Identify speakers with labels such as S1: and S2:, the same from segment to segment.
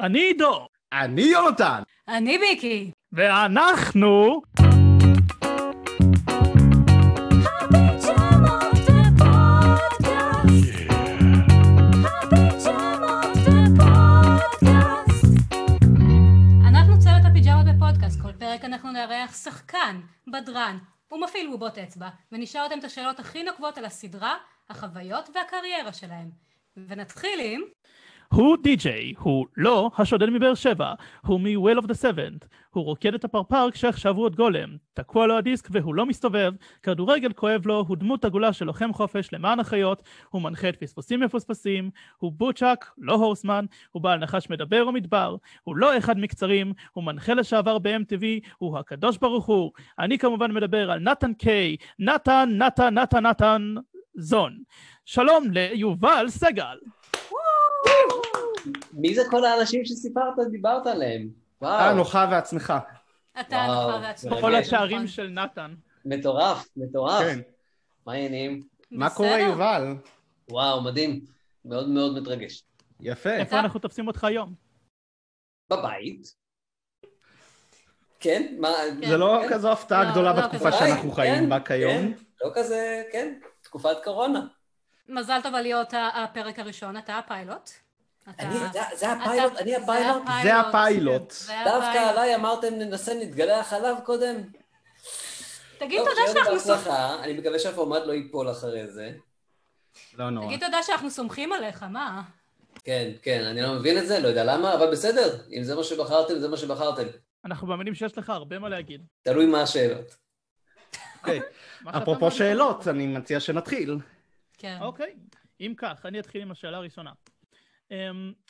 S1: אני עידו,
S2: אני יונתן.
S3: אני ביקי.
S1: ואנחנו...
S3: אנחנו צוות הפיג'מות בפודקאסט, כל פרק אנחנו נארח שחקן, בדרן ומפעיל בובות אצבע, ונשאל אותם את השאלות הכי נוקבות על הסדרה, החוויות והקריירה שלהם. ונתחיל עם...
S1: הוא די-ג'יי, הוא לא השודד מבאר שבע, הוא מ-Well of the Seventh, הוא רוקד את הפרפר כשעכשיו הוא עוד גולם, תקוע לו הדיסק והוא לא מסתובב, כדורגל כואב לו, הוא דמות עגולה של לוחם חופש למען החיות, הוא מנחה את פספוסים מפוספסים, הוא בוצ'ק, לא הורסמן, הוא בעל נחש מדבר או מדבר, הוא לא אחד מקצרים, הוא מנחה לשעבר ב-MTV, הוא הקדוש ברוך הוא. אני כמובן מדבר על נתן קיי, נתן, נתן, נתן, נתן, זון. שלום ליובל סגל.
S4: מי זה כל האנשים שסיפרת, דיברת עליהם?
S2: אתה
S4: וואו,
S2: אנוחה אה, ועצמך.
S3: אתה נכון. הנוחה
S4: וואו,
S3: והצמחה.
S1: כל
S2: אה, נכון.
S4: רגע,
S1: השערים של נתן.
S4: מטורף, מטורף.
S2: כן.
S4: מה העניינים?
S2: מה קורה, יובל?
S4: וואו, מדהים. מאוד מאוד מתרגש.
S2: יפה.
S1: איפה אנחנו תופסים אותך היום?
S4: בבית. כן? מה...
S2: זה לא
S4: כן.
S2: כזו הפתעה
S3: לא,
S2: גדולה
S3: לא
S2: בתקופה
S3: כזה.
S2: שאנחנו
S4: כן,
S2: חיים בה
S4: כן,
S2: כיום.
S4: לא כזה, כן, תקופת קורונה.
S3: מזל טוב על להיות ה- הפרק הראשון, אתה הפיילוט. אתה-
S4: אני, אה, זה- זה
S3: אתה-
S4: הפיילוט, אני הפיילוט.
S2: זה הפיילוט.
S3: זה
S4: דווקא
S3: הפיילוט.
S4: עליי אמרתם ננסה נתגלח עליו קודם.
S3: תגיד
S4: טוב,
S3: תודה
S4: שיהיה
S3: שאנחנו
S4: בהצלחה.
S3: סומכים.
S4: אני מקווה שהפורמט לא ייפול אחרי זה.
S2: לא נורא.
S3: תגיד תודה שאנחנו סומכים עליך, מה?
S4: כן, כן, אני לא מבין את זה, לא יודע למה, אבל בסדר. אם זה מה שבחרתם, זה מה שבחרתם.
S1: אנחנו מאמינים שיש לך הרבה מה להגיד.
S4: תלוי מה השאלות.
S2: אוקיי.
S1: מה שאתה
S2: אפרופו
S1: מאמין.
S2: שאלות, אני מציע שנתחיל.
S3: כן.
S1: אוקיי. אם כך, אני אתחיל עם השאלה הראשונה. אמ,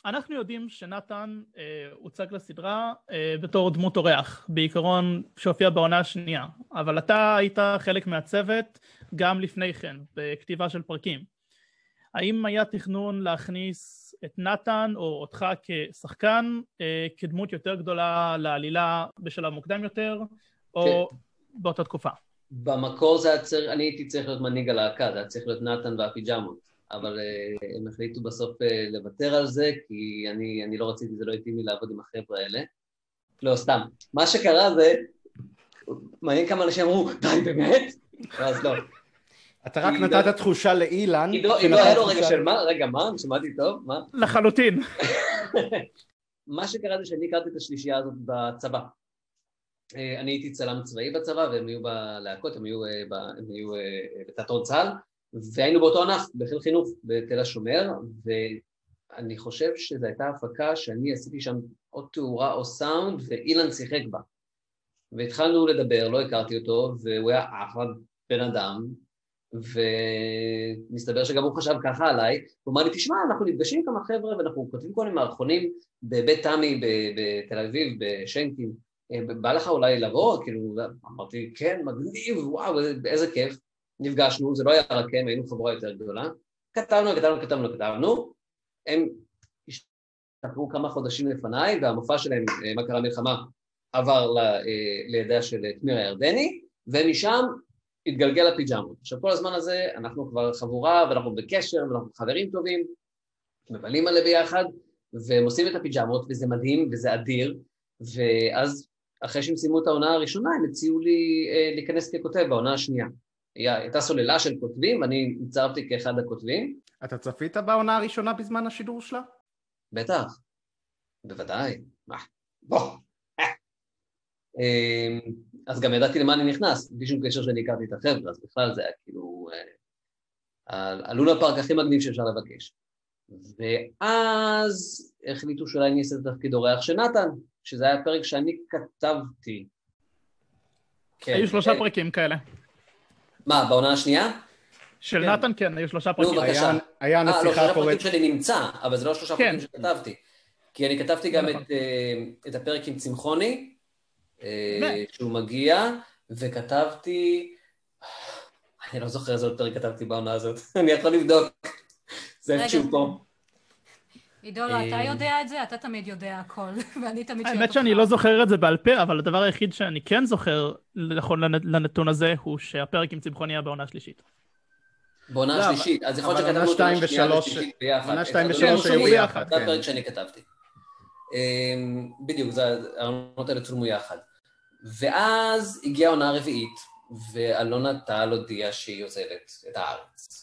S1: אנחנו יודעים שנתן אה, הוצג לסדרה אה, בתור דמות אורח, בעיקרון שהופיע בעונה השנייה, אבל אתה היית חלק מהצוות גם לפני כן, בכתיבה של פרקים. האם היה תכנון להכניס את נתן או אותך כשחקן אה, כדמות יותר גדולה לעלילה בשלב מוקדם יותר, או
S4: כן.
S1: באותה תקופה?
S4: במקור זה היה צריך, אני הייתי צריך להיות מנהיג הלהקה, זה היה צריך להיות נתן והפיג'מות, אבל אה, הם החליטו בסוף אה, לוותר על זה, כי אני, אני לא רציתי, זה לא התאים לי לעבוד עם החבר'ה האלה. לא, סתם. מה שקרה זה, מעניין כמה אנשים אמרו, די, באמת? ואז לא.
S2: אתה רק
S4: עידו-
S2: נתת תחושה לאילן.
S4: עידו, עידו,
S2: שנתן
S4: לא היה לו רגע
S2: תחושה-
S4: של מה, רגע, מה? שמעתי טוב? מה?
S1: לחלוטין.
S4: כן. מה שקרה זה שאני הכרתי את השלישייה הזאת בצבא. אה, אני הייתי צלם צבאי בצבא, והם היו בלהקות, הם היו, אה, ב- הם היו אה, אה, בתיאטרון צה"ל, והיינו באותו ענף, בחיל חינוך, בתל השומר, ואני חושב שזו הייתה הפקה שאני עשיתי שם או תאורה או סאונד, ואילן שיחק בה. והתחלנו לדבר, לא הכרתי אותו, והוא היה אחלה בן אדם, ומסתבר שגם הוא חשב ככה עליי, הוא אמר לי, תשמע, אנחנו נפגשים עם כמה חבר'ה ואנחנו כותבים כל מיני מערכונים בבית תמי ב- בתל אביב, בשנקין, אה, בא לך אולי לבוא? כאילו, אמרתי, כן, מגניב, וואו, איזה- איזה כיף. נפגשנו, זה לא היה רק הם, היינו חבורה יותר גדולה. כתבנו, כתבנו, כתבנו, כתבנו. הם השתחררו כמה חודשים לפניי, והמופע שלהם, אה, מה קרה מלחמה, עבר ל- אה, לידיה של אה, תמיר הירדני, ומשם התגלגל לפיג'מות. עכשיו, כל הזמן הזה אנחנו כבר חבורה, ואנחנו בקשר, ואנחנו חברים טובים, מבלים עליה ביחד, והם עושים את הפיג'מות, וזה מדהים, וזה אדיר, ואז אחרי שהם סיימו את העונה הראשונה, הם הציעו לי אה, להיכנס ככותב בעונה השנייה. היה- הייתה סוללה של כותבים, ואני הצטרפתי כאחד הכותבים,
S2: אתה צפית בעונה הראשונה בזמן השידור שלה?
S4: בטח, בוודאי, מה, בוא. אה. אה, אז גם ידעתי למה אני נכנס, בלי שום קשר שאני הכרתי את החבר'ה, אז בכלל זה היה כאילו... אה, ה- הלונה פארק הכי מגניב שאפשר לבקש. ואז החליטו שאולי אני אעשה את תפקיד אורח של נתן, שזה היה פרק שאני כתבתי. כן.
S1: היו שלושה
S4: אה,
S1: פרקים כאלה.
S4: מה, בעונה השנייה?
S1: של
S4: כן.
S1: נתן כן, היו שלושה פרקים.
S4: בבקשה.
S2: היה- היה
S4: אה, לא,
S2: נסיכה
S4: שלושה פרקים
S2: פורצת.
S4: שלי נמצא, אבל זה לא שלושה
S1: כן.
S4: פרקים שכתבתי. כי אני כתבתי גם
S1: נכון.
S4: את, אה, את הפרק עם צמחוני, אה,
S1: באמת?
S4: שהוא מגיע, וכתבתי... אה, אני לא זוכר איזה עוד פרק כתבתי בעונה הזאת, אני יכול לבדוק. זה
S3: רגע.
S4: איפשהו פה.
S3: עידו, לא, אתה
S4: אה,
S3: יודע את זה, אתה תמיד יודע הכל, ואני תמיד שואלת
S1: האמת שאני לא זוכר את זה בעל פה, אבל הדבר היחיד שאני כן זוכר נכון לנ- לנתון הזה, הוא שהפרק עם צמחוני היה בעונה השלישית.
S4: בעונה
S2: לא,
S4: השלישית, אז יכול להיות
S2: אבל
S4: שכתבנו
S2: עונה
S4: אותו
S2: שתיים
S4: שנייה
S2: ושלוש-
S4: ושלישית ביחד. לא,
S2: עונה
S4: את
S2: שתיים
S4: אדוני
S2: ושלוש
S4: הראשון
S1: היו
S4: שלי,
S1: ביחד,
S4: זה
S2: כן.
S4: הפרק שאני כתבתי. אמ, בדיוק, זה- העונות האלה צולמו יחד. ואז הגיעה העונה הרביעית, ואלונה טל הודיעה שהיא עוזבת את הארץ.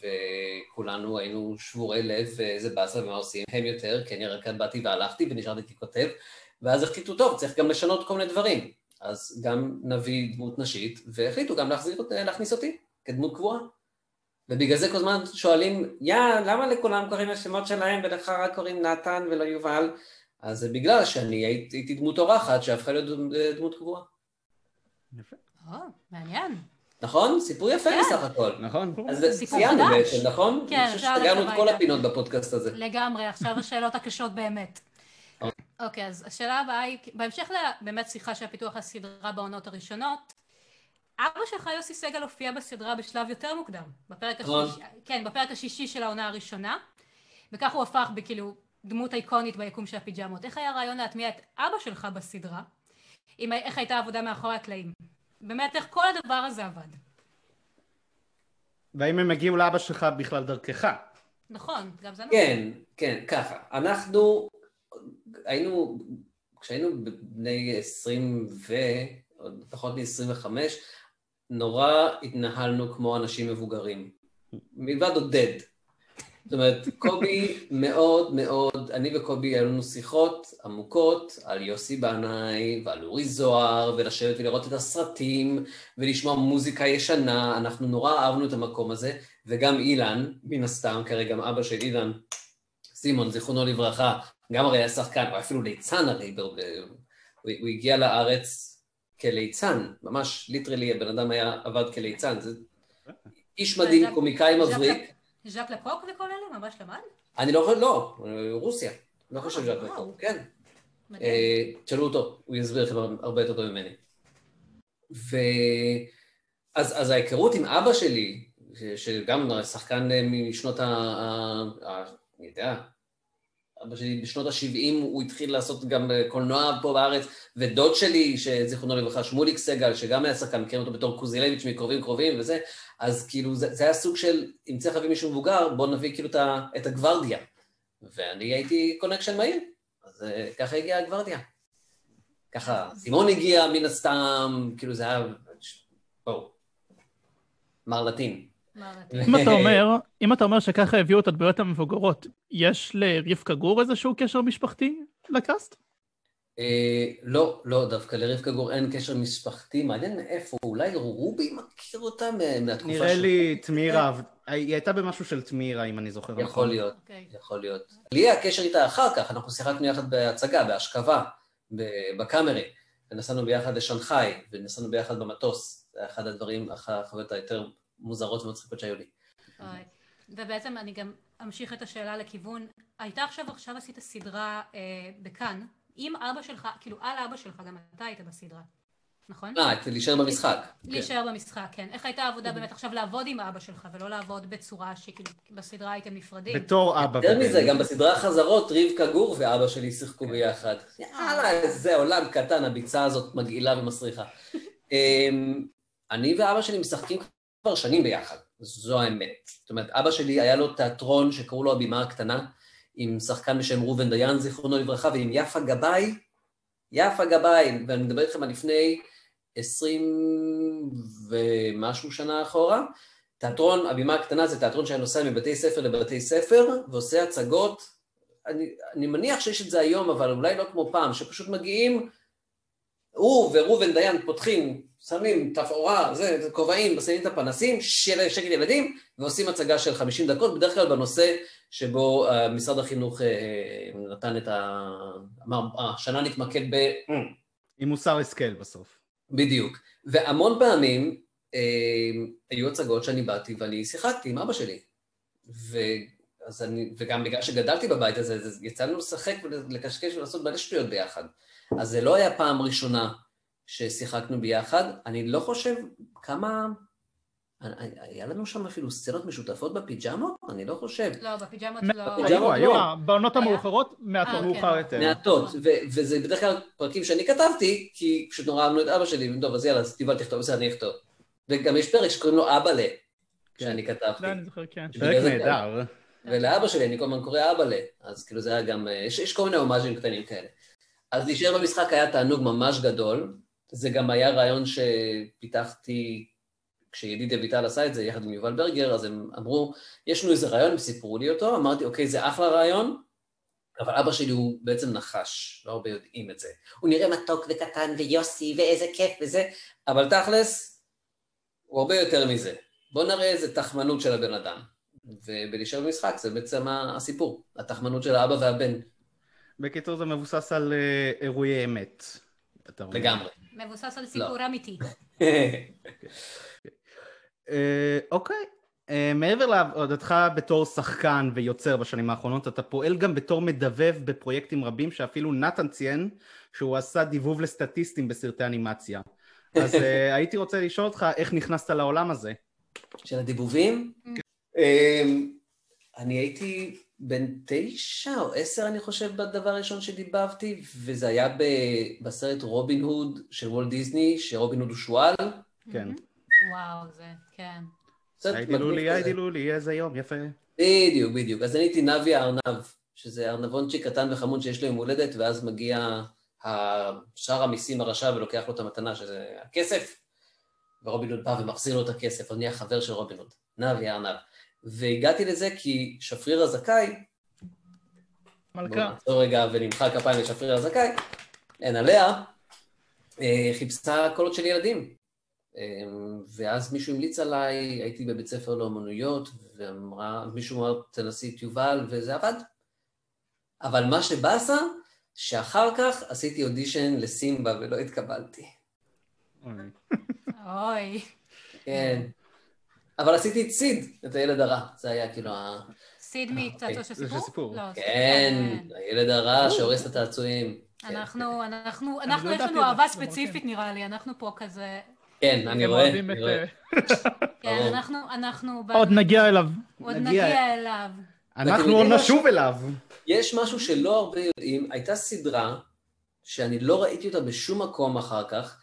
S4: וכולנו היינו שבורי לב, ואיזה באסה ומה עושים הם יותר, כי אני רק באתי והלכתי ונשארתי ככותב, ואז החליטו, טוב, צריך גם לשנות כל מיני דברים. אז גם נביא דמות נשית, והחליטו גם להחזיר, אות- להכניס אותי כדמות קבועה. ובגלל זה כל הזמן שואלים, יא, למה לכולם קוראים השמות שלהם ולך רק קוראים נתן ולא יובל? אז זה בגלל שאני הייתי הייתי דמות אורחת שהפכה להיות דמ- אה, דמות קבועה.
S2: יפה.
S3: או, מעניין.
S4: נכון? סיפור יפה
S3: כן.
S4: בסך הכל.
S2: נכון.
S4: אז
S3: סיפור
S4: סיימנו
S3: חדש.
S4: בעצם, נכון?
S3: כן,
S4: אני חושב
S3: אפשר ללכת
S4: שסגרנו את כל
S3: הביתה.
S4: הפינות בפודקאסט הזה.
S3: לגמרי, עכשיו השאלות הקשות באמת.
S4: אוקיי.
S3: אוקיי, אז השאלה הבאה היא, בהמשך לבאמת שיחה של פיתוח הסדרה בעונות הראשונות, אבא שלך יוסי סגל הופיע בסדרה בשלב יותר מוקדם, בפרק
S4: נכון.
S3: השישי, כן, בפרק השישי של העונה הראשונה, וכך הוא הפך בכאילו דמות איקונית ביקום של הפיג'מות. איך היה הרעיון להטמיע את אבא שלך בסדרה? עם, ה- איך הייתה העבודה מאחורי הקלעים? באמת, איך כל הדבר הזה עבד?
S2: והאם הם הגיעו לאבא שלך בכלל דרכך?
S3: נכון, גם זה נכון.
S4: כן, כן, ככה. אנחנו היינו, כשהיינו בני 20 ו... עוד פחות מ-25, נורא התנהלנו כמו אנשים מבוגרים. מלבד עודד. זאת אומרת, קובי מאוד מאוד, אני וקובי היו לנו שיחות עמוקות על יוסי בנאי ועל אורי זוהר, ולשבת ולראות את הסרטים, ולשמוע מוזיקה ישנה, אנחנו נורא אהבנו את המקום הזה, וגם אילן, מן הסתם, כרגע גם אבא של אילן, סימון, זיכרונו לברכה, גם הרי היה שחקן, הוא היה אפילו ליצן הרי, ב- ב- הוא, הוא הגיע לארץ כליצן, ממש ליטרלי, הבן אדם היה עבד כליצן, זה איש מדהים, קומיקאי מבריק.
S3: ז'אק נכון. לקוק וכל אלה ממש למד?
S4: אני לא חושב, לא, רוסיה. לא חושב שאת מקום, כן.
S3: מדהים.
S4: אה, תשאלו אותו, הוא יסביר לכם הרבה יותר טוב ממני. ו... אז, אז ההיכרות עם אבא שלי, ש- שגם שחקן אה, משנות ה... ה- ה- אני יודע, אבא שלי בשנות ה-70 הוא התחיל לעשות גם אה, קולנוע פה בארץ, ודוד שלי, שזיכרונו לברכה, שמוליק סגל, שגם היה שחקן, מכירים אותו בתור קוזילביץ' מקרובים קרובים וזה, אז כאילו זה, זה היה סוג של, אם צריך להביא מישהו מבוגר, בוא נביא כאילו את, ה- את הגוורדיה. ואני הייתי קונקשן מהיר, אז אה, ככה הגיעה הגוורדיה. ככה, סימון הגיע מן הסתם, כאילו זה היה, בואו, מר לטין.
S3: מה רצית?
S4: אה,
S1: אם אתה אומר, אם אתה אומר שככה הביאו את הדמויות המבוגרות, יש לרבקה גור איזשהו קשר משפחתי לקאסט?
S4: אה, לא, לא, דווקא לרבקה גור אין קשר משפחתי, מעניין מאיפה, אולי רובי מכיר אותה מה- מהתקופה
S2: נראה
S4: שלו.
S2: לי תמירה, היא הייתה במשהו של תמירה, אם אני זוכר. נכון.
S4: יכול להיות,
S3: אוקיי.
S4: יכול להיות. לי היה קשר איתה אחר כך, אנחנו שיחקנו יחד בהצגה, בהשכבה, ב- בקאמרי, ונסענו ביחד לשנגחאי, ונסענו ביחד במטוס, זה היה אחד הדברים, אחת החוויות היותר מוזרות ומצחיקות שהיו לי. אוקיי.
S3: אוי. אוקיי. ובעצם אני גם אמשיך את השאלה לכיוון, הייתה עכשיו, עכשיו עשית סדרה אה, בכאן, עם אבא שלך, כאילו על אבא שלך, גם אתה היית בסדרה, נכון?
S4: אה, אוקיי. כדי להישאר במשחק.
S3: להישאר במשחק, כן. איך הייתה העבודה באמת עכשיו לעבוד עם אבא שלך, ולא לעבוד בצורה שכאילו בסדרה הייתם נפרדים?
S2: בתור אבא.
S4: יותר מזה,
S2: ובן.
S4: גם בסדרה החזרות, רבקה גור ואבא שלי שיחקו ביחד. יאללה, איזה עולם קטן, הביצה הזאת מגעילה ומסריחה. אמ, אני ואבא שלי משחקים כבר שנים ביחד, זו האמת. זאת אומרת, אבא שלי היה לו תיאטרון שקראו לו הבימה הקטנה, עם שחקן בשם ראובן דיין, זיכרונו לברכה, ועם יפה גבאי, יפה גבאי, ואני מדבר איתכם על לפני עשרים ומשהו שנה אחורה. תיאטרון, הבימה הקטנה זה תיאטרון שהיה נוסע מבתי ספר לבתי ספר ועושה הצגות. אני, אני מניח שיש את זה היום, אבל אולי לא כמו פעם, שפשוט מגיעים, הוא וראובן דיין פותחים, שמים תפאורה, זה, זה, כובעים, שמים את הפנסים, של- שקט ילדים, ועושים הצגה של 50 דקות, בדרך כלל בנושא שבו uh, משרד החינוך uh, נתן את ה... אמר, "אה, השנה נתמקד ב...
S2: עם מוסר השכל בסוף.
S4: בדיוק. והמון פעמים אה, היו הצגות שאני באתי ואני שיחקתי עם אבא שלי. ו... אז אני, וגם בגלל שגדלתי בבית הזה, אז יצאנו לשחק ולקשקש ולעשות מלא שטויות ביחד. אז זה לא היה פעם ראשונה ששיחקנו ביחד. אני לא חושב כמה... היה לנו שם אפילו סצנות משותפות בפיג'מות? אני לא חושב.
S3: לא, בפיג'מות
S1: מה-
S3: לא...
S4: בפיג'מות? היו, היו.
S1: אה, בעונות המאוחרות,
S3: אה,
S1: מעטות.
S3: כן.
S2: לא מאוחר יותר.
S4: מעטות, ו- וזה בדרך כלל פרקים שאני כתבתי, כי פשוט נורא אהבנו את אבא שלי, טוב, אז יאללה, אז תיבל תכתוב, בסדר, אני אכתוב. וגם יש פרק שקוראים לו אבאלה, שאני כתבתי.
S1: לא, זה אני זוכר, כן.
S2: פרק נהדר.
S4: ולאבא שלי אני כל הזמן קורא אבאלה, אז כאילו זה היה גם, יש, יש כל מיני הומאז'ים קטנים כאלה. אז להישאר במשחק היה תענוג ממש גדול, זה גם היה רעיון שפיתחתי כשידיד אביטל עשה את זה יחד עם יובל ברגר, אז הם אמרו, יש לנו איזה רעיון, הם סיפרו לי אותו, אמרתי, אוקיי, זה אחלה רעיון, אבל אבא שלי הוא בעצם נחש, לא הרבה יודעים את זה. הוא נראה מתוק וקטן ויוסי ואיזה כיף וזה, אבל תכלס, הוא הרבה יותר מזה. בואו נראה איזה תחמנות של הבן אדם. ובלהישאר במשחק זה בעצם הסיפור, התחמנות של האבא והבן.
S2: בקיצור, זה מבוסס על אה, אירועי אמת. אתה אומר.
S4: לגמרי.
S3: מבוסס
S4: לא.
S3: על סיפור אמיתי.
S2: אה, אוקיי. אה, מעבר לעבודתך בתור שחקן ויוצר בשנים האחרונות, אתה פועל גם בתור מדבב בפרויקטים רבים שאפילו נתן ציין שהוא עשה דיבוב לסטטיסטים בסרטי אנימציה. אז אה, הייתי רוצה לשאול אותך איך נכנסת לעולם הזה.
S4: של הדיבובים? אמ, אני הייתי בן תשע או עשר, אני חושב, בדבר הראשון שדיבבתי, וזה היה ב- בסרט רובין הוד של וולט דיסני, שרובין הוד הוא שועל.
S2: כן.
S3: וואו, זה, כן.
S4: סרט
S2: הייתי
S4: מגניב
S2: לולי,
S4: כזה.
S2: הייתי לולי, איזה יום, יפה.
S4: בדיוק, בדיוק. אז אני הייתי נבי הארנב, שזה ארנבונצ'יק קטן וחמוד שיש לו יום הולדת, ואז מגיע שר המיסים הרשע ולוקח לו את המתנה, שזה הכסף, ורובין הוד בא ומחזיר לו את הכסף, אז נהיה חבר של רובין הוד, נבי הארנב. והגעתי לזה כי שפריר הזכאי, בואו
S1: מלכה.
S4: נעצור רגע ונמחא כפיים לשפריר הזכאי, אין עליה, אה, חיפשה קולות של ילדים. אה, ואז מישהו המליץ עליי, הייתי בבית ספר לאומנויות, ואמרה, מישהו אמר, תנסי את יובל, וזה עבד. אבל מה שבאסה, שאחר כך עשיתי אודישן לסימבה ולא התקבלתי.
S3: אוי.
S4: כן. אבל עשיתי את סיד, את הילד הרע. זה היה כאילו ה...
S3: סיד
S4: אוקיי.
S3: מצעצוע של
S2: זה של
S3: סיפור?
S2: סיפור.
S3: לא, סיד,
S4: כן, הילד הרע שהורס את התעצועים. כן.
S3: אנחנו, אנחנו, אנחנו,
S1: לא
S3: יש לנו
S1: ידעתי את
S3: אהבה
S1: זה, אבל
S3: ספציפית
S1: כן.
S3: נראה לי, אנחנו פה כזה,
S4: כן, אני
S1: הם
S4: רואה,
S1: אוהבים את,
S4: אני רואה.
S1: אה,
S3: כן,
S4: ברור.
S3: אנחנו, אנחנו,
S1: עוד נגיע אליו.
S3: עוד
S2: נגיע.
S3: נגיע אליו.
S2: אנחנו
S4: יודעים
S2: עוד
S4: מה-
S2: נשוב אליו.
S4: יש משהו שלא הרבה יודעים, הייתה סדרה שאני לא ראיתי אותה בשום מקום אחר כך.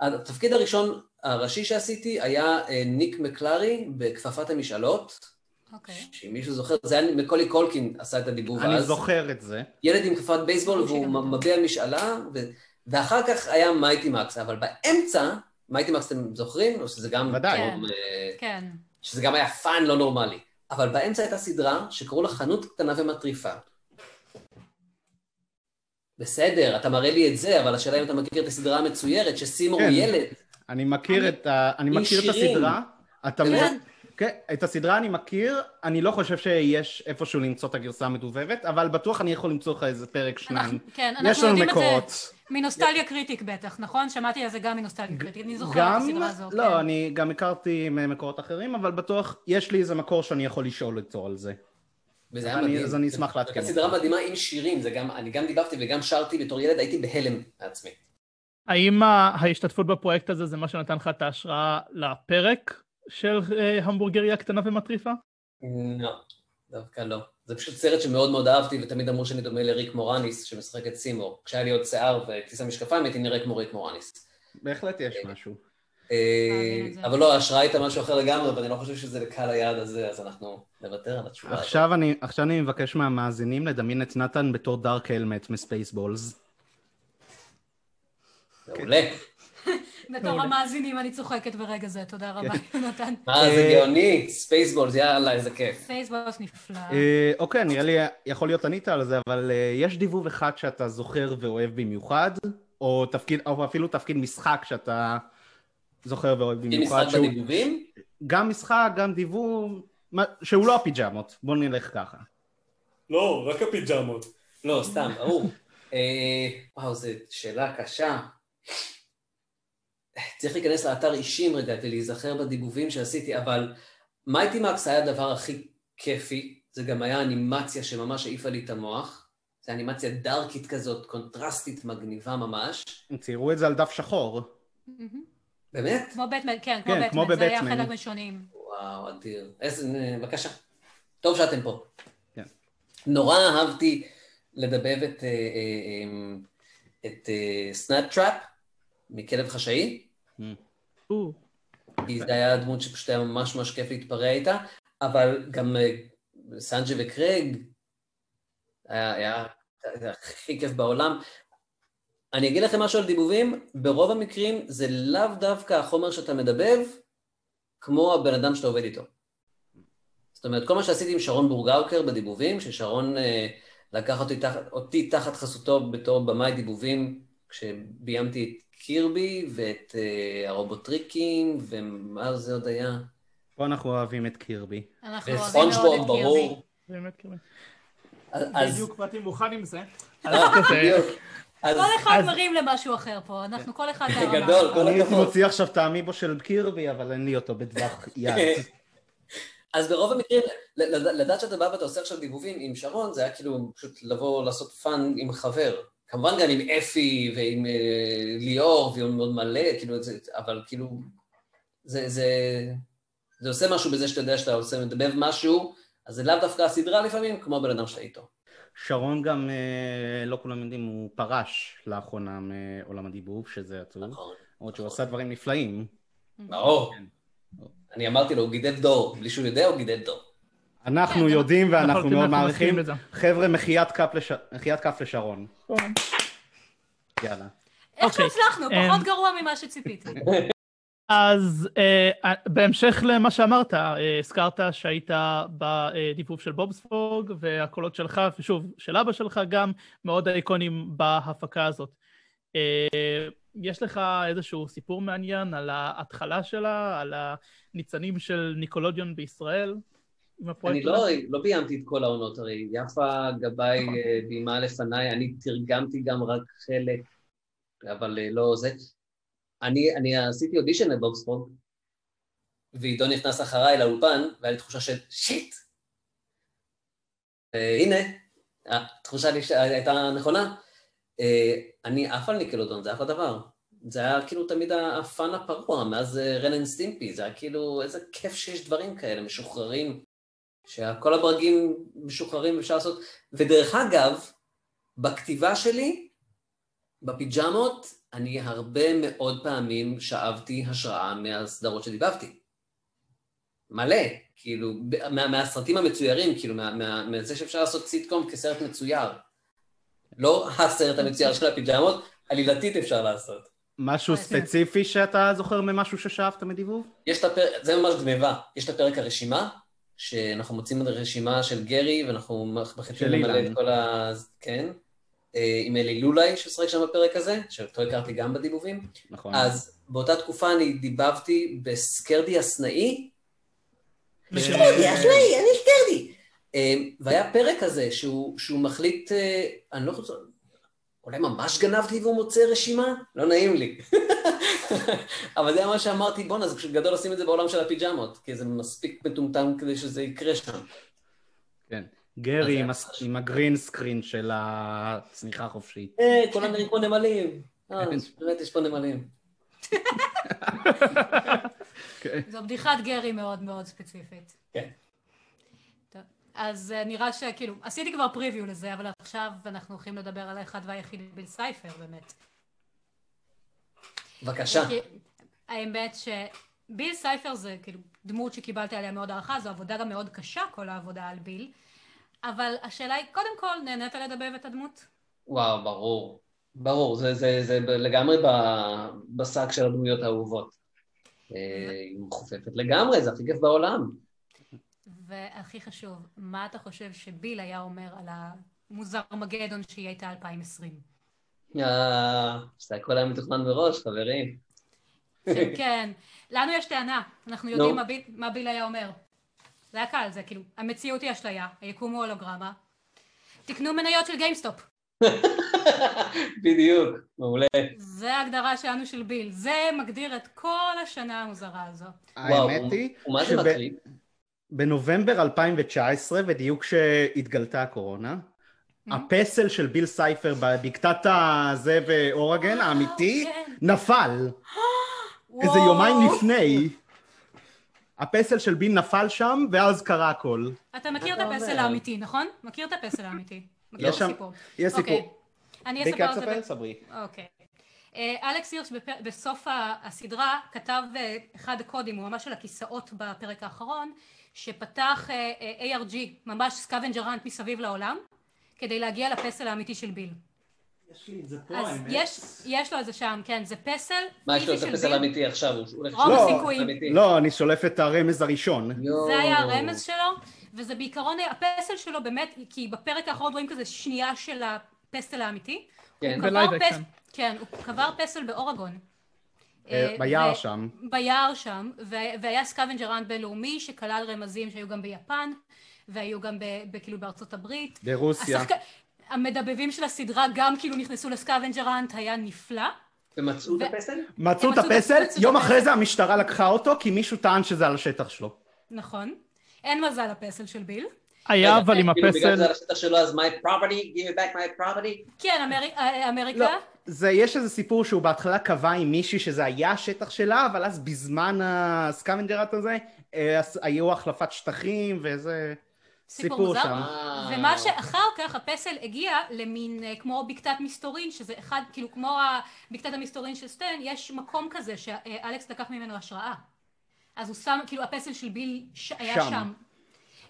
S4: התפקיד הראשון הראשי שעשיתי היה אה, ניק מקלרי בכפפת המשאלות,
S3: אוקיי.
S4: שאם מישהו זוכר, זה היה מקולי קולקין עשה את הדיבוב
S2: אני
S4: אז.
S2: זוכר את זה.
S4: ילד עם כפפת בייסבול
S3: ברור שגם
S4: והוא
S3: אתה.
S4: מביע משאלה, ו... ואחר כך היה מייטי מקס, אבל באמצע, מייטי מקס אתם זוכרים? או שזה גם...
S2: ודאי.
S4: טוב, אה,
S3: כן.
S4: שזה גם היה פאן לא נורמלי. אבל באמצע הייתה סדרה שקראו לה חנות קטנה ומטריפה. בסדר, אתה מראה לי את זה, אבל השאלה אם אתה מכיר את הסדרה המצוירת, שסימור
S2: כן.
S4: הוא ילד.
S2: אני מכיר
S4: אני-
S2: את ה... אני
S4: עם
S2: מכיר את
S4: שירים.
S2: הסדרה. אתה מאוד...
S3: כן,
S2: כן, את הסדרה אני מכיר, אני לא חושב שיש איפשהו למצוא את הגרסה המדובבת, אבל בטוח אני יכול למצוא לך איזה פרק שניים.
S3: אנחנו- כן,
S2: יש
S3: אנחנו
S2: לנו
S3: יודעים את
S2: מקורות.
S3: זה מנוסטליה קריטיק בטח, נכון? שמעתי על זה גם מנוסטליה קריטיק, אני זוכרת את
S2: גם,
S3: הסדרה הזאת. כן.
S2: לא, אני גם הכרתי ממקורות אחרים, אבל בטוח יש לי איזה מקור שאני יכול לשאול אותו על זה.
S4: וזה היה
S2: אני-
S4: מדהים.
S2: אז אני אשמח לעדכן
S4: אותך. סדרה מדהימה עם שירים, זה גם, אני גם דיבבתי וגם שרתי בתור ילד, הייתי בהלם מעצמי.
S1: האם ה- ההשתתפות בפרויקט הזה זה מה שנתן לך את ההשראה לפרק של אה, המבורגריה קטנה ומטריפה?
S4: לא, דווקא לא. זה פשוט סרט שמאוד מאוד אהבתי, ותמיד אמרו שאני דומה לריק מורניס, שמשחק את סימור. כשהיה לי עוד שיער וכיסה משקפיים, הייתי נראה כמו ריק מורניס.
S2: בהחלט יש משהו.
S4: אה,
S3: להבין את זה.
S4: אבל לא, ההשראה הייתה משהו אחר לגמרי, ואני לא חושב שזה לקהל היעד הזה, אז אנחנו נוותר על התשובה הזאת.
S2: עכשיו אני, עכשיו אני מבקש מהמאזינים לדמיין את נתן בתור דארק הלמט מספייסבולס.
S4: מעולה.
S2: אה,
S3: בתור המאזינים אני צוחקת ברגע זה, תודה רבה,
S2: כן.
S3: יונתן.
S4: מה, זה גאוני, ספייסבולס, יאללה, איזה כיף.
S3: פייסבוס נפלא.
S2: אה, אוקיי, נראה לי, יכול להיות ענית על זה, אבל אה, יש דיבוב אחד שאתה זוכר ואוהב במיוחד, או תפקיד, או אפילו תפקיד משחק שאתה זוכר ואוהב
S4: עם
S2: במיוחד,
S4: משחק
S2: שהוא
S4: בדיבובים?
S2: גם משחק, גם דיבוב, מה- שהוא לא הפיג'מות, בוא נלך ככה.
S4: לא, רק הפיג'מות. לא, סתם, ברור. אה, וואו, זו שאלה קשה. צריך להיכנס לאתר אישים רגע ולהיזכר בדיבובים שעשיתי, אבל מייטי מקס היה הדבר הכי כיפי, זה גם היה אנימציה שממש העיפה לי את המוח. זו אנימציה דארקית כזאת, קונטרסטית, מגניבה ממש.
S2: הם ציירו את זה על דף שחור.
S3: מהמם.
S4: באמת?
S3: כמו בטמן, כן,
S2: כן, כמו
S3: כמו בטמן, זה היה
S2: בבטמן.
S3: אחד הראשונים.
S4: וואו, אדיר. איזה... אה, בבקשה. טוב שאתם פה.
S2: כן.
S4: נורא אהבתי לדבב את, אה, אה, אה, את סנאט טראפ מכלב חשאי,
S1: או,
S4: כי זו הייתה דמות שפשוט היה ממש ממש כיף להתפרע איתה, אבל גם אה, סנג'י וקרייג, היה, היה, היה הכי כיף בעולם. אני אגיד לכם משהו על דיבובים, ברוב המקרים זה לאו דווקא החומר שאתה מדבב, כמו הבן אדם שאתה עובד איתו. זאת אומרת, כל מה שעשיתי עם שרון בורגאוקר בדיבובים, ששרון אה, לקח אותי, תח, אותי תחת חסותו בתור במאי דיבובים, כשביימתי את קירבי ואת אה, הרובוטריקים, ומה זה עוד היה?
S2: פה אנחנו אוהבים את קירבי.
S3: אנחנו אוהבים מאוד
S4: וספונג'בורג,
S3: את קירבי.
S4: ברור.
S1: באמת כאילו.
S4: אז- אז...
S1: בדיוק באתי מוכן עם זה. אז
S4: אה,
S1: כזה,
S4: בדיוק. אז
S3: כל אחד
S1: אז-
S3: מרים למשהו אחר פה, אנחנו כל אחד והרמה.
S4: גדול, כל
S2: אני הייתי
S4: הכבוד.
S2: מוציא עכשיו את האמיבו של קירבי, אבל אין לי אותו בטווח יד.
S4: אז ברוב המקרים, ל- לד- לדעת שאתה בא ואתה עושה עכשיו דיבובים עם שרון, זה היה כאילו פשוט לבוא לעשות פאן עם חבר. כמובן גם עם אפי ועם אה, ליאור ועם עוד מלא, כאילו, זה, אבל כאילו, זה, זה, זה עושה משהו בזה שאתה יודע שאתה עושה, מדבב משהו, אז זה לאו דווקא הסדרה לפעמים, כמו הבן אדם שאתה איתו.
S2: שרון גם, אה, לא כולם יודעים, הוא פרש לאחרונה מעולם הדיבוב, שזה עצוב.
S4: נכון.
S2: למרות שהוא עשה דברים נפלאים.
S4: ברור.
S2: כן.
S4: נכון. אני אמרתי לו, הוא גידל דור, בלי שהוא יודע, הוא גידל דור.
S2: אנחנו יודעים
S4: לא
S2: ואנחנו
S1: אנחנו לא
S2: מאוד
S1: יודעים, אנחנו
S2: מעריכים.
S1: מסכימים לזה.
S2: חבר'ה, מחיית כף לש- מחיית כף לשרון. יאללה.
S3: איכשהו
S1: אוקיי,
S3: הצלחנו,
S1: אמ,
S3: פחות גרוע ממה שציפיתי.
S1: אז אה, בהמשך למה שאמרת, אה, הזכרת שהיית בדיבוב של בובספוג, והקולות שלך, ושוב, של אבא שלך גם, מאוד איקונים בהפקה הזאת. אה, יש לך איזשהו סיפור מעניין על ההתחלה שלה, על הניצנים של ניקולודיון בישראל, עם הפרויקט
S4: אני לא, לא ביימתי את כל העונות, הרי יפה גבאי אה, ביימה לפניי, אני תרגמתי גם רק חלק, אבל אה, לא זה. אני, אני עשיתי אודישן לבובספוג, ועידו נכנס אחריי לאולפן, והיה לי תחושה של שיט. אה, הנה, התחושה לי ש- הייתה נכונה. אה, אני עף על ניקלודון, זה אחלה דבר. זה היה כאילו תמיד הפאן הפרוע, מאז אה, רן אנד סטימפי, זה היה כאילו, איזה כיף שיש דברים כאלה, משוחררים. שכל הברגים משוחררים ואפשר לעשות. ודרך אגב, בכתיבה שלי, בפיג'מות, אני הרבה מאוד פעמים שאבתי השראה מהסדרות שדיבבתי. מלא, כאילו, ב- מה, מהסרטים המצוירים, כאילו, מה, מה, מזה שאפשר לעשות סיטקום כסרט מצויר. לא הסרט המצויר של הפיג'מות, עלילתית אפשר לעשות.
S2: משהו
S3: אוקיי.
S2: ספציפי שאתה זוכר ממשהו ששאבת מדיבוב?
S4: יש את הפרק, זה ממש גניבה, יש את הפרק הרשימה, שאנחנו מוצאים את הרשימה של גרי, ואנחנו מחליטים
S2: של
S4: למלא
S2: אילן.
S4: את כל ה... כן. אה, עם אלי לולאי ששחק שם בפרק הזה, שאותו הכרתי גם בדיבובים.
S2: נכון.
S4: אז באותה תקופה אני דיבבתי בסקרדי הסנאי,
S1: מסכימים.
S4: אני אחראי, אני סקרדי. אמ, והיה פרק כזה שהוא, שהוא מחליט, אה, אני לא חושב, אולי ממש גנבתי והוא מוצא רשימה? לא נעים לי. אבל זה היה מה שאמרתי, בואנה, זה פשוט גדול לשים את זה בעולם של הפיג'מות, כי זה מספיק מטומטם כדי שזה יקרה שם.
S2: כן.
S4: אז זה
S2: גרי עם
S4: היה
S2: הס-
S4: ממש-
S2: עם הגרין סקרין של הצניחה החופשית.
S4: אה, כולם נראים כמו נמלים. אה, באמת יש פה נמלים.
S3: זו בדיחת גרי מאוד מאוד ספציפית.
S4: כן.
S3: טוב, אז אה, נראה שכאילו, עשיתי כבר פריוויו לזה, אבל עכשיו אנחנו הולכים לדבר על האחד והיחיד ביל סייפר באמת.
S4: בבקשה.
S3: כי האמת שביל סייפר זה כאילו דמות שקיבלתי עליה מאוד הערכה, זו עבודה גם מאוד קשה, כל העבודה על ביל. אבל השאלה היא, קודם כל, נהנית לדבב את הדמות?
S4: וואו, ברור. ברור, זה, זה, זה ב- לגמרי ב, בשק של הדמויות האהובות. אה, היא מחופפת לגמרי, זה הכי כיף בעולם.
S3: והכי חשוב, מה אתה חושב שביל היה אומר על המוזר מגדון שהיא הייתה 2020?
S4: אה, זה הכל היה מתוכנן מראש, חברים.
S3: עכשיו, כן, לנו יש טענה, אנחנו יודעים
S4: נו.
S3: מה ביל- מה ביל היה אומר. זה היה קל, זה כאילו, המציאות היא אשליה, היקום הוא הולוגרמה. תקנו מניות של גיימסטופ.
S4: בדיוק, מעולה.
S3: זה ההגדרה שלנו של ביל. זה מגדיר את כל השנה המוזרה הזו.
S4: וואו,
S2: האמת היא
S4: הוא מה זה מטריד?
S2: שבנובמבר 2019, בדיוק כשהתגלתה הקורונה, הפסל של ביל סייפר בבקתת הזה ואורגן
S3: וואו,
S2: האמיתי
S3: כן.
S2: נפל. איזה
S3: וואו.
S2: יומיים לפני. הפסל של ביל נפל שם, ואז קרה הכל.
S3: אתה מכיר את
S4: אתה
S3: הפסל
S4: אומר?
S3: האמיתי, נכון? מכיר את הפסל האמיתי. מכיר
S2: יש
S3: את
S2: שם-
S3: הסיפור.
S2: יש
S3: אוקיי.
S2: סיפור.
S3: אני
S2: ריקה,
S3: אספר את זה.
S2: תספר,
S3: ב-
S2: סברי.
S3: אוקיי. אה, אלכס הירש בפ- בסוף ה- הסדרה כתב אה, אחד הקודים, הוא ממש על הכיסאות בפרק האחרון, שפתח אה, אה, ARG, ממש סקוונג'ר האנט מסביב לעולם, כדי להגיע לפסל האמיתי של ביל.
S2: יש לי את זה פה,
S3: אז
S2: האמת.
S3: יש, יש לו את זה שם, כן, זה פסל
S4: מה יש לו
S3: פיזי
S4: את
S3: של
S4: הפסל
S3: ביל.
S4: האמיתי עכשיו? הוא הולך
S3: רוב
S4: לשלוח
S2: הסיכויים.
S4: אמיתי.
S3: כן.
S2: לא, אני שולף את הרמז הראשון.
S4: יואו.
S3: זה היה הרמז שלו, וזה בעיקרון הפסל שלו באמת, כי בפרק האחרון רואים כזה שנייה של הפסל האמיתי.
S4: כן.
S3: הוא קבר
S1: בלייב
S3: פס-
S1: אקשן.
S3: כן, הוא קבר פסל באורגון.
S2: אה,
S3: אה,
S2: ביער
S3: ו-
S2: שם.
S3: ביער שם, ו- והיה סקוונג'ר אנט בינלאומי שכלל רמזים שהיו גם ביפן, והיו גם ב- ב- כאילו בארצות הברית.
S2: ברוסיה.
S3: השחק... המדבבים של הסדרה גם כאילו נכנסו לסקוונג'ר אנט, היה נפלא.
S4: ומצאו את
S3: ו-
S4: הפסל?
S2: מצאו את
S3: מצאו את-
S2: הפסל,
S3: מצאו את
S2: יום
S3: הפסל.
S2: אחרי זה המשטרה לקחה אותו, כי מישהו טען שזה על השטח שלו.
S3: נכון. אין מזל לפסל של ביל.
S1: היה אבל עם
S4: כאילו, בגלל
S1: הפסל,
S4: זה על השטח שלו, אז my property, give me back my property.
S3: כן, אמר... אה, אמריקה.
S2: לא, זה, יש איזה סיפור שהוא בהתחלה קבע עם מישהי שזה היה השטח שלה, אבל אז בזמן הסקמנג'רט הזה, אה, אז היו החלפת שטחים וזה
S3: סיפור
S2: סיפור
S3: מוזר.
S2: שם.
S4: אה.
S3: ומה שאחר כך הפסל הגיע למין אה, כמו בקתת מסתורין, שזה אחד, כאילו כמו ה- בקתת המסתורין של סטן, יש מקום כזה שאלכס לקח ממנו השראה. אז הוא שם, כאילו הפסל של ביל ש... היה
S2: שם.
S3: שם. שם.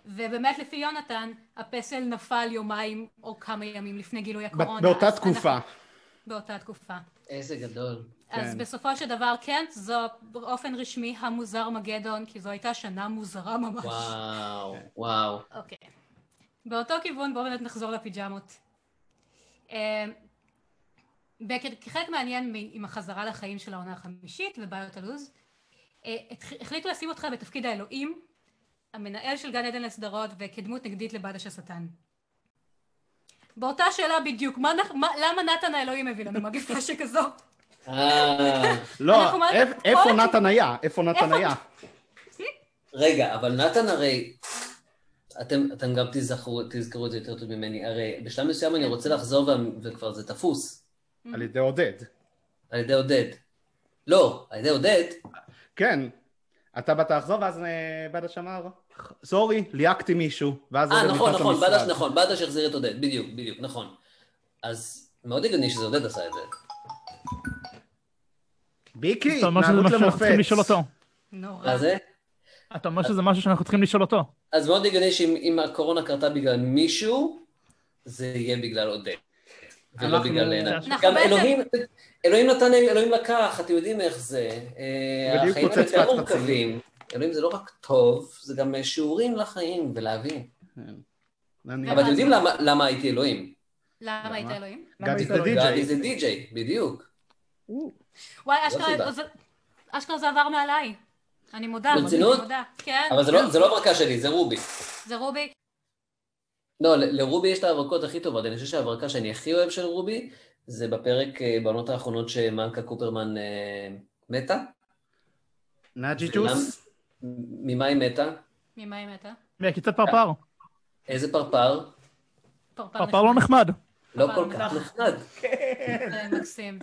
S3: ובאמת לפי יונתן, הפסל נפל יומיים או כמה ימים לפני גילוי
S2: ב-
S3: הקורונה.
S2: באותה
S3: נכון, אז
S2: תקופה.
S3: אנחנו... באותה תקופה.
S4: איזה גדול.
S3: אז בסופו של דבר, כן, זו באופן רשמי המוזר מגדון, כי זו הייתה שנה מוזרה ממש.
S4: וואו, וואו.
S3: אוקיי. באותו כיוון, בואו באמת נחזור לפיג'מות. אה, בק- כחלק מעניין מ- עם החזרה לחיים של העונה החמישית ובעיות הלו"ז, אה, התח- החליטו לשים אותך בתפקיד האלוהים, המנהל של גן עדן לסדרות וכדמות נגדית לבדש השטן. באותה שאלה בדיוק, מה, נח- מה, למה נתן האלוהים הביא לנו מגפה שכזאת?
S4: אה,
S2: לא,
S3: אנחנו מה-
S2: איפ-
S3: כל
S2: איפה
S3: הכי-
S2: נתן היה? איפה נתן
S3: איפה-
S2: היה?
S4: רגע, אבל נתן הרי... אתם, אתם גם תזכרו, תזכרו את זה יותר טוב ממני, הרי בשלב מסוים אני רוצה לחזור וה- וכבר זה תפוס,
S2: על ידי עודד.
S4: על ידי עודד. לא, על ידי עודד,
S2: כן. אתה באת לחזור, ואז אה, בדש אמר, סורי, ליהקתי מישהו. ואז
S4: אה,
S2: עודד
S4: נכון,
S2: נכנס
S4: נכון,
S2: למשרד.
S4: בדש, נכון, בדש החזיר את עודד, בדיוק, בדיוק, נכון. אז מאוד הגיוני שזה עודד עשה את זה.
S2: ביקי,
S1: אתה אומר שזה משהו
S2: התנהלות
S1: שאנחנו צריכים לשאול
S2: למופת.
S1: אותו.
S3: נורא.
S4: מה זה?
S1: אתה אומר שזה משהו שאנחנו צריכים לשאול אותו.
S2: כן.
S4: אז מאוד הגיוני שאם אם הקורונה קרתה בגלל מישהו, זה יהיה בגלל עודד. ולא
S2: אנחנו-
S4: בגלל עיניי.
S1: אנחנו
S4: גם
S3: בעצם-
S4: אלוהים, אלוהים נתן, אלוהים לקח, אתם יודעים איך זה. אה,
S2: בדיוק
S4: החיים האלה
S2: פוצץ
S4: יותר
S2: בהתחלה.
S4: מורכבים. אלוהים זה לא רק טוב, זה גם אה, שיעורים לחיים ולהבין.
S2: אני-
S4: אבל אתם יודעים למה- למה הייתי אלוהים?
S3: למה היית
S2: למה?
S3: אלוהים?
S2: גם
S1: למה
S2: את
S1: זה לא-
S4: גדי
S2: הדי-ג'יי.
S4: זה די-ג'יי, בדיוק.
S3: וואי,
S4: זו הסיבה.
S3: אשכרה, זה- אשכרה זה עבר מעליי. אני מודה, אני
S4: ברצינות?
S3: מודה. כן,
S4: אבל זה לא- זה לא מרכה שלי, זה רובי.
S3: זה רובי.
S4: לא, ל- לרובי יש את ההברקות הכי טובות, אני חושב שההברקה שאני הכי אוהב של רובי, זה בפרק, אה, בעונות האחרונות שמלכה קופרמן אה, מתה.
S2: נאג'י ג'וס?
S4: מ- ממה היא מתה?
S3: ממה אה? היא מתה?
S1: מהקיצת פרפר.
S4: איזה פרפר?
S1: פרפר לא נחמד.
S4: לא
S3: פרפר
S4: כל כך נחמד.
S3: זה מקסים.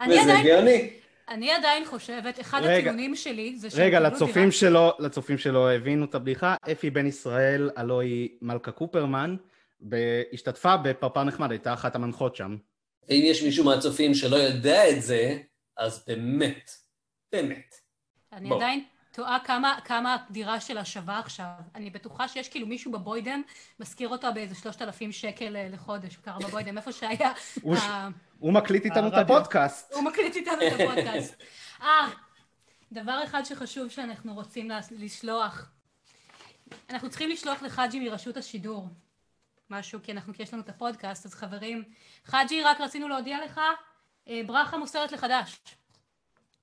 S3: אני
S4: וזה
S3: עדיין-
S4: גאוני.
S3: אני עדיין חושבת, אחד
S2: רגע.
S3: הטיעונים שלי זה שהם
S2: רגע,
S3: קיבלו דירה-
S2: לצופים שלא, לצופים שלא הבינו את הבדיחה, אפי בן ישראל, הלוא היא מלכה קופרמן, ב- השתתפה בפרפר נחמד, הייתה אחת המנחות שם.
S4: ואם יש מישהו מהצופים שלא יודע את זה, אז באמת, באמת.
S3: אני
S4: בוא.
S3: עדיין תוהה כמה- כמה הדירה שלה שווה עכשיו. אני בטוחה שיש כאילו מישהו בבוידם, משכיר אותה באיזה 3,000 שקל אה, לחודש, הוא קרה בבוידם, איפה שהיה.
S2: הוא ש-
S3: ה-
S2: הוא מקליט איתנו את
S1: הרדיו.
S2: הפודקאסט.
S3: הוא מקליט איתנו את הפודקאסט. אה, דבר אחד שחשוב שאנחנו רוצים לס- לשלוח. אנחנו צריכים לשלוח לחאג'י מרשות השידור משהו, כי אנחנו, כי יש לנו את הפודקאסט, אז חברים, חאג'י, רק רצינו להודיע לך, אה, ברכה מוסרת לחדש.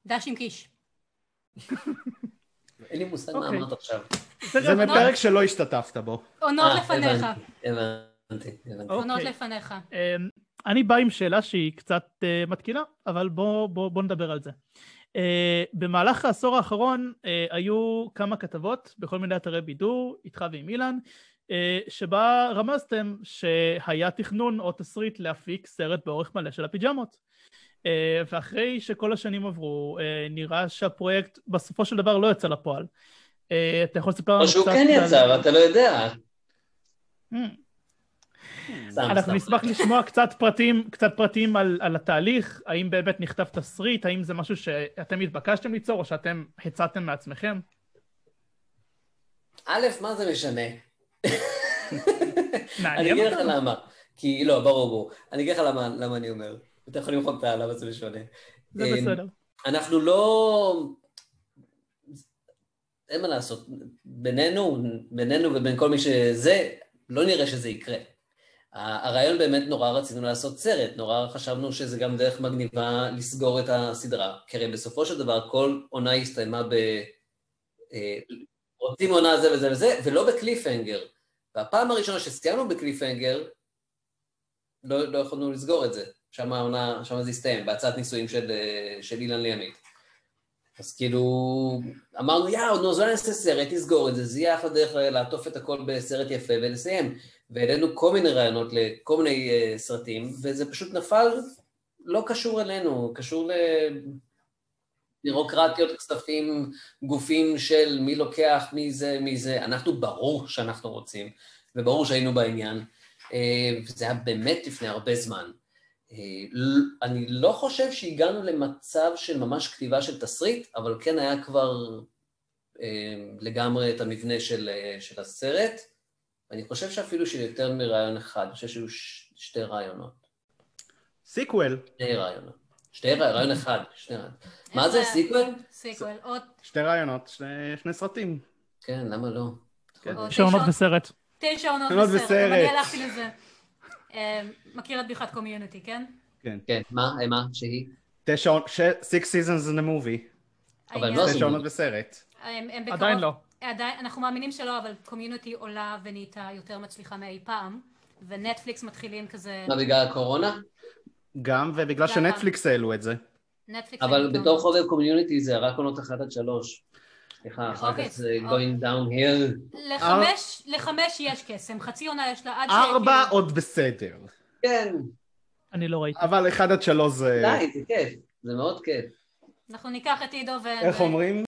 S3: דש עם קיש.
S4: אין לי מושג מה
S1: אוקיי.
S4: אמרת עכשיו.
S2: זה נכון. מפרק שלא השתתפת בו.
S3: עונות
S4: אה,
S3: לפניך.
S4: הבנתי, הבנתי, הבנתי.
S3: עונות
S1: אוקיי.
S3: לפניך.
S1: אמ, אני בא עם שאלה שהיא קצת אה, מתקילה, אבל בוא, בוא, בוא נדבר על זה. אה, במהלך העשור האחרון אה, היו כמה כתבות בכל מיני אתרי בידור, איתך ועם אילן, אה, שבה רמזתם שהיה תכנון או תסריט להפיק סרט באורך מלא של הפיג'מות. אה, ואחרי שכל השנים עברו, אה, נראה שהפרויקט בסופו של דבר לא יצא לפועל. אה, אתה יכול לספר לנו
S4: או
S1: קצת...
S4: שהוא כן יצא,
S1: על-
S4: אבל אתה לא יודע.
S1: Hmm.
S4: סתם,
S1: אנחנו
S4: סתם.
S1: נשמח לשמוע קצת פרטים, קצת פרטים על, על התהליך, האם באמת נכתב תסריט, האם זה משהו שאתם התבקשתם ליצור או שאתם הצעתם מעצמכם?
S4: א', מה זה משנה? אני
S1: מעניין
S4: אגיד לך
S1: אותנו.
S4: למה. כי, לא, ברור, ברור. אני אגיד לך למה- למה אני אומר. אתה יכול למחוק את הלמה זה משנה.
S1: זה
S4: אה,
S1: בסדר.
S4: אנחנו לא... אין מה לעשות, בינינו, בינינו ובין כל מי שזה, לא נראה שזה יקרה. ה- הרעיון באמת, נורא רצינו לעשות סרט, נורא חשבנו שזה גם דרך מגניבה לסגור את הסדרה. כי הרי בסופו של דבר כל עונה הסתיימה ב... אה, רוצים עונה זה וזה וזה, ולא בקליפהנגר. והפעם הראשונה שסיימנו בקליפהנגר, לא, לא יכולנו לסגור את זה. שם העונה, שם זה הסתיים, בהצעת נישואים של, אה, של אילן לימית. אז כאילו, אמרנו, יאו, נו, אז אולי נעשה סרט, נסגור את זה, זה יהיה אחלה דרך לעטוף את הכל בסרט יפה ולסיים. והעלינו כל מיני רעיונות לכל מיני אה, סרטים, וזה פשוט נפל, לא קשור אלינו, קשור לבירוקרטיות, כספים, גופים של מי לוקח, מי זה, מי זה. אנחנו, ברור שאנחנו רוצים, וברור שהיינו בעניין. אה, וזה היה באמת לפני הרבה זמן. אה, ל- אני לא חושב שהגענו למצב של ממש כתיבה של תסריט, אבל כן היה כבר אה, לגמרי את המבנה של, אה, של הסרט. אני חושב שאפילו שיותר מרעיון אחד, אני חושב שהיו ש- שתי רעיונות.
S2: סיקוול,
S4: שני רעיונות. שתי רעיון, רעיון אחד, שני רעיון. מה זה,
S3: איך
S4: סיקוול?
S3: סיקוול, עוד
S2: שתי רעיונות, שני, שני סרטים.
S4: כן, למה לא?
S2: כן.
S4: עוד-
S3: תשע
S1: שעונות
S3: עונות-
S1: וסרט.
S3: תשע עונות
S2: עונות
S3: בסרט,
S2: בסרט.
S3: גם אני הלכתי לזה. אה, מכיר את בדיחת קומיוניטי, כן?
S4: כן, מה, אה, מה, שהיא?
S2: תשע, ש... six seasons in a movie.
S4: אבל
S3: העניין-
S4: לא
S2: תשע
S4: עשינו.
S2: עונות בסרט.
S3: הם- הם בקרוב-
S1: עדיין לא.
S3: עדיין, אנחנו מאמינים שלא, אבל קומיוניטי עולה ונהייתה יותר מצליחה מאי פעם, ונטפליקס מתחילים כזה...
S4: מה, בגלל הקורונה?
S2: גם, ובגלל
S3: גם.
S2: שנטפליקס העלו
S3: אה,
S2: את זה.
S3: נטפליקס...
S4: אבל
S3: היום-
S4: בתור חובב קומיוניטי זה רק עונות אחת עד שלוש. סליחה, אחר
S3: אוקיי,
S4: כך זה
S3: אוקיי.
S4: going down here.
S3: לחמש, לחמש יש קסם, חצי עונה יש לה עד
S2: ארבע
S3: שכאילו-
S2: עוד בסדר.
S4: כן,
S1: אני לא ראיתי.
S2: אבל אחד עד שלוש זה...
S4: די, זה כיף, אה. זה מאוד כיף.
S3: אנחנו ניקח את עידו ו...
S2: איך
S3: ו-
S2: אומרים?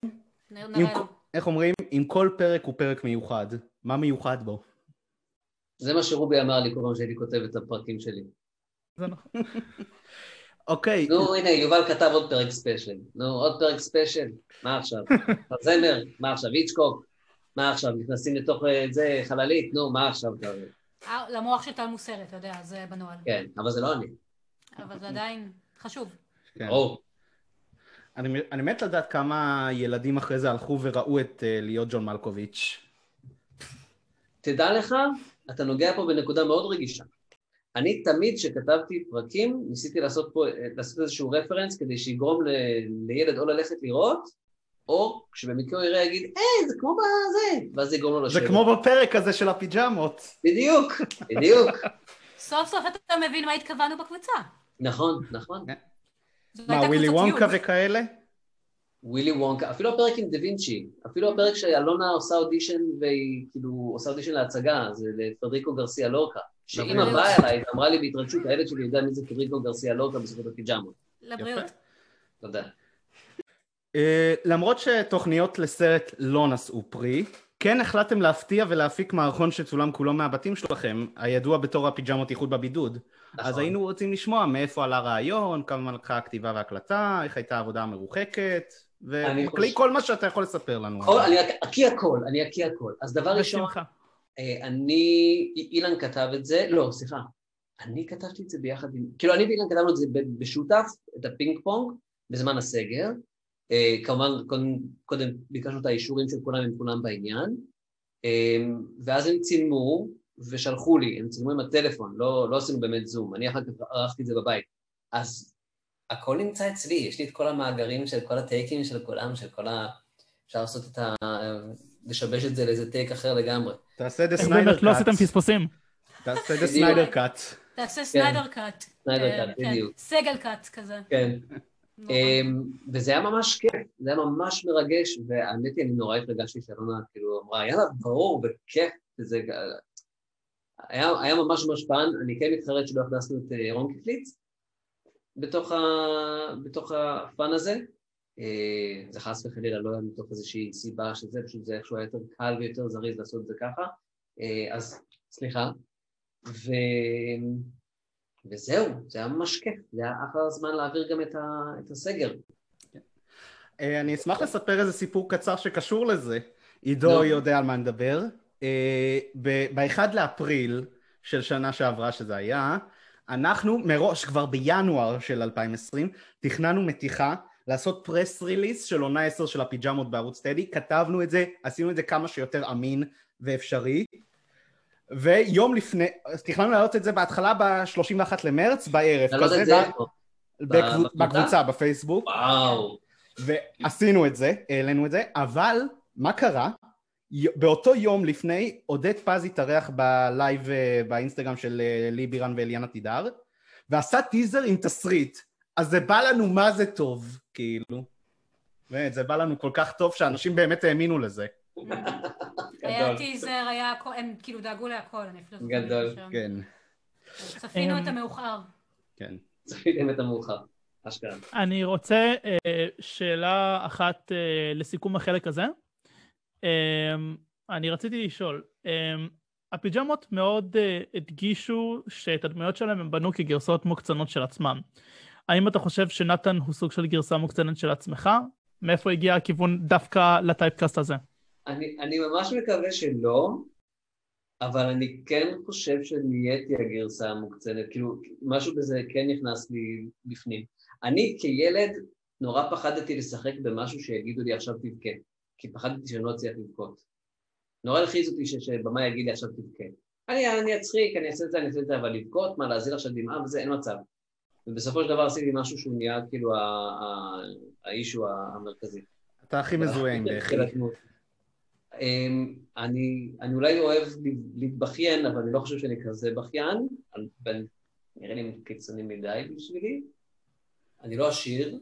S3: נ- נראה
S2: אם-
S3: לו.
S2: איך אומרים? אם כל פרק הוא פרק מיוחד, מה מיוחד בו?
S4: זה מה שרובי אמר לי כל פעם שהייתי כותב את הפרקים שלי.
S1: זה נכון.
S2: אוקיי,
S4: נו, הנה, יובל כתב עוד פרק ספיישל. נו, עוד פרק ספיישל, מה עכשיו? זמר, מה עכשיו? היצ'קוק, מה עכשיו? נכנסים לתוך אה, זה חללית, נו, מה עכשיו? כבר?
S3: אה, למוח של טל מוסרת, אתה יודע, זה בנוהל.
S4: כן, אבל זה לא אני,
S3: אבל זה עדיין חשוב.
S2: כן.
S4: ברור.
S2: אני אני מת לדעת כמה ילדים אחרי זה הלכו וראו את אה, להיות ג'ון מלקוביץ'.
S4: תדע לך, אתה נוגע פה בנקודה מאוד רגישה. אני תמיד כשכתבתי פרקים, ניסיתי לעשות פה, לעשות איזשהו רפרנס כדי שיגרום ל- לילד או ללכת לראות, או כשבמקרה הוא יראה יגיד, אה, זה כמו בזה, ואז זה יגרום לו
S2: זה
S4: לשבת.
S2: כמו בפרק הזה של הפיג'מות.
S4: בדיוק, בדיוק.
S3: סוף סוף אתה מבין מה התכוונו בקבוצה.
S4: נכון, נכון.
S3: זו
S2: מה,
S3: הייתה
S2: ווילי
S3: קבוצת
S2: וונקה
S3: טיול.
S2: וכאלה?
S4: ווילי וונקה, אפילו הפרק עם דה וינצ'י, אפילו הפרק שאלונה עושה אודישן והיא כאילו עושה אודישן להצגה, זה לפדריקו גרסיה לורקה.
S2: נכון.
S4: שאימא
S3: לבריאות.
S4: באה אליי ואמרה לי בהתרגשות, הילד שלי יודע מי זה פדריקו גרסיה לורקה בזכות הפיג'מות.
S3: לבריאות.
S4: תודה.
S2: אה, למרות שתוכניות לסרט לא נשאו פרי, כן החלטתם להפתיע ולהפיק מערכון שצולם כולו מהבתים שלכם, הידוע בתור הפיג'מות איחוד בבידוד. אז
S4: נכון.
S2: היינו רוצים לשמוע מאיפה עלה הרעיון, כמה זמן לקחה הכתיבה וההקלטה, איך הייתה העבודה המרוחקת,
S4: אני
S2: ובכלי
S4: חושב-
S2: כל מה שאתה יכול לספר לנו.
S4: כל- אני אק- אקיא הכל, אני אקיא הכל. אז דבר ראשון,
S1: בשמחה.
S4: אה, אני, אי- אילן כתב את זה, לא, סליחה, אני כתבתי את זה ביחד עם, כאילו אני ואילן כתבנו את זה ב- בשותף, את הפינג פונג, בזמן הסגר. אה, כמובן, קודם, קודם ביקשנו את האישורים של כולם, הם כולם בעניין. אה, ואז הם צילמו ושלחו לי, הם צילמו עם הטלפון, לא, לא עשינו באמת זום, אני אחר כך ערכתי את זה בבית. אז הכל נמצא אצלי, יש לי את כל המאגרים של כל הטייקים של כולם, של כל ה... אפשר לעשות את ה... לשבש את זה לאיזה טייק אחר לגמרי.
S2: תעשה דה
S4: אה,
S1: איך באמת
S2: סניידר
S1: לא עשיתם
S2: קאט.
S1: פספוסים?
S2: תעשה דה סניידר קאט.
S3: תעשה סניידר קאט.
S4: כן. סניידר
S3: אה,
S4: קאט,
S3: כן, נכון.
S4: בדיוק.
S3: סגל קאט כזה.
S4: כן.
S3: נורא.
S4: אמ, וזה היה ממש כיף, זה היה ממש מרגש, והאמת היא, אני נורא התרגשתי שאלונה כאילו אמרה, יאללה, ברור, בכיף, וזה... היה, היה ממש ממש פן, אני כן מתחרט שלא הכנסנו את אה, רון קפליץ בתוך, ה, בתוך הפן הזה. אה, זה חס וחלילה לא היה מתוך איזושהי סיבה שזה, פשוט זה איכשהו היה יותר קל ויותר זריז לעשות את זה ככה. אה, אז סליחה. ו... וזהו, זה היה ממש כיף, זה היה אחלה זמן להעביר גם את, ה, את הסגר.
S2: אה, אני אשמח לספר איזה סיפור קצר שקשור לזה. עידו
S4: נו.
S2: יודע על מה נדבר. אה, ב- ב-1 לאפריל של שנה שעברה שזה היה, אנחנו מראש, כבר בינואר של 2020, תכננו מתיחה לעשות פרס ריליס של עונה 10 של הפיג'מות בערוץ טדי, כתבנו את זה, עשינו את זה כמה שיותר אמין ואפשרי, ויום לפני, אז תכננו להעלות את זה בהתחלה ב-31 למרץ בערב,
S4: אתה לא יודע
S2: כזה
S4: את זה?
S2: ב- בקבוצ-
S4: בקבוצה?
S2: בקבוצה, בפייסבוק.
S4: וואו.
S2: ועשינו את זה, העלינו את זה, אבל מה קרה? י- באותו יום לפני, עודד פז התארח בלייב אה, באינסטגרם של אה, לי בירן ואליאנה תידר, ועשה טיזר עם תסריט. אז זה בא לנו מה זה טוב, כאילו. באמת, זה בא לנו כל כך טוב שאנשים באמת האמינו לזה.
S3: Mm. היה טיזר, היה הכל, הם כאילו דאגו להכל, אני אפילו... זוכרת
S4: גדול,
S3: שם.
S2: כן,
S3: צפינו
S1: אמ,
S3: את המאוחר.
S2: כן.
S4: צפיתם את המאוחר. אשכרה.
S1: אני רוצה אה, שאלה אחת אה, לסיכום החלק הזה. אה, אני רציתי לשאול, אה, הפיג'מות מאוד אה, הדגישו שאת הדמויות שלהם הם בנו כגרסאות מוקצנות של עצמם. האם אתה חושב שנתן הוא סוג של גרסה מוקצנת של עצמך? מאיפה הגיע הכיוון דווקא לטייפקאסט הזה?
S4: אני, אני ממש מקווה שלא, אבל אני כן חושב שנהייתי הגרסה המוקצנת, כאילו, משהו בזה כן נכנס לי בפנים. אני כילד נורא פחדתי לשחק במשהו שיגידו לי עכשיו תבכה, כי פחדתי שאני לא אצליח לבכות. נורא הלחיץ אותי ש- שבמאי יגיד לי עכשיו תבכה. אני, אני אצחיק, אני אעשה את זה, אני אעשה את זה, אבל לבכות, מה, להזיל עכשיו דמעה וזה, אין מצב. ובסופו של דבר עשיתי משהו שהוא נהיה כאילו ה- ה- האישו המרכזי.
S2: אתה הכי מזוהה עם בכי.
S4: של הדמות. כן, אמ, אני, אני אולי אוהב ל- להתבכיין, אבל אני לא חושב שאני כזה בכיין, אני- ואני- נראה לי קיצוני מדי בשבילי. אני לא עשיר,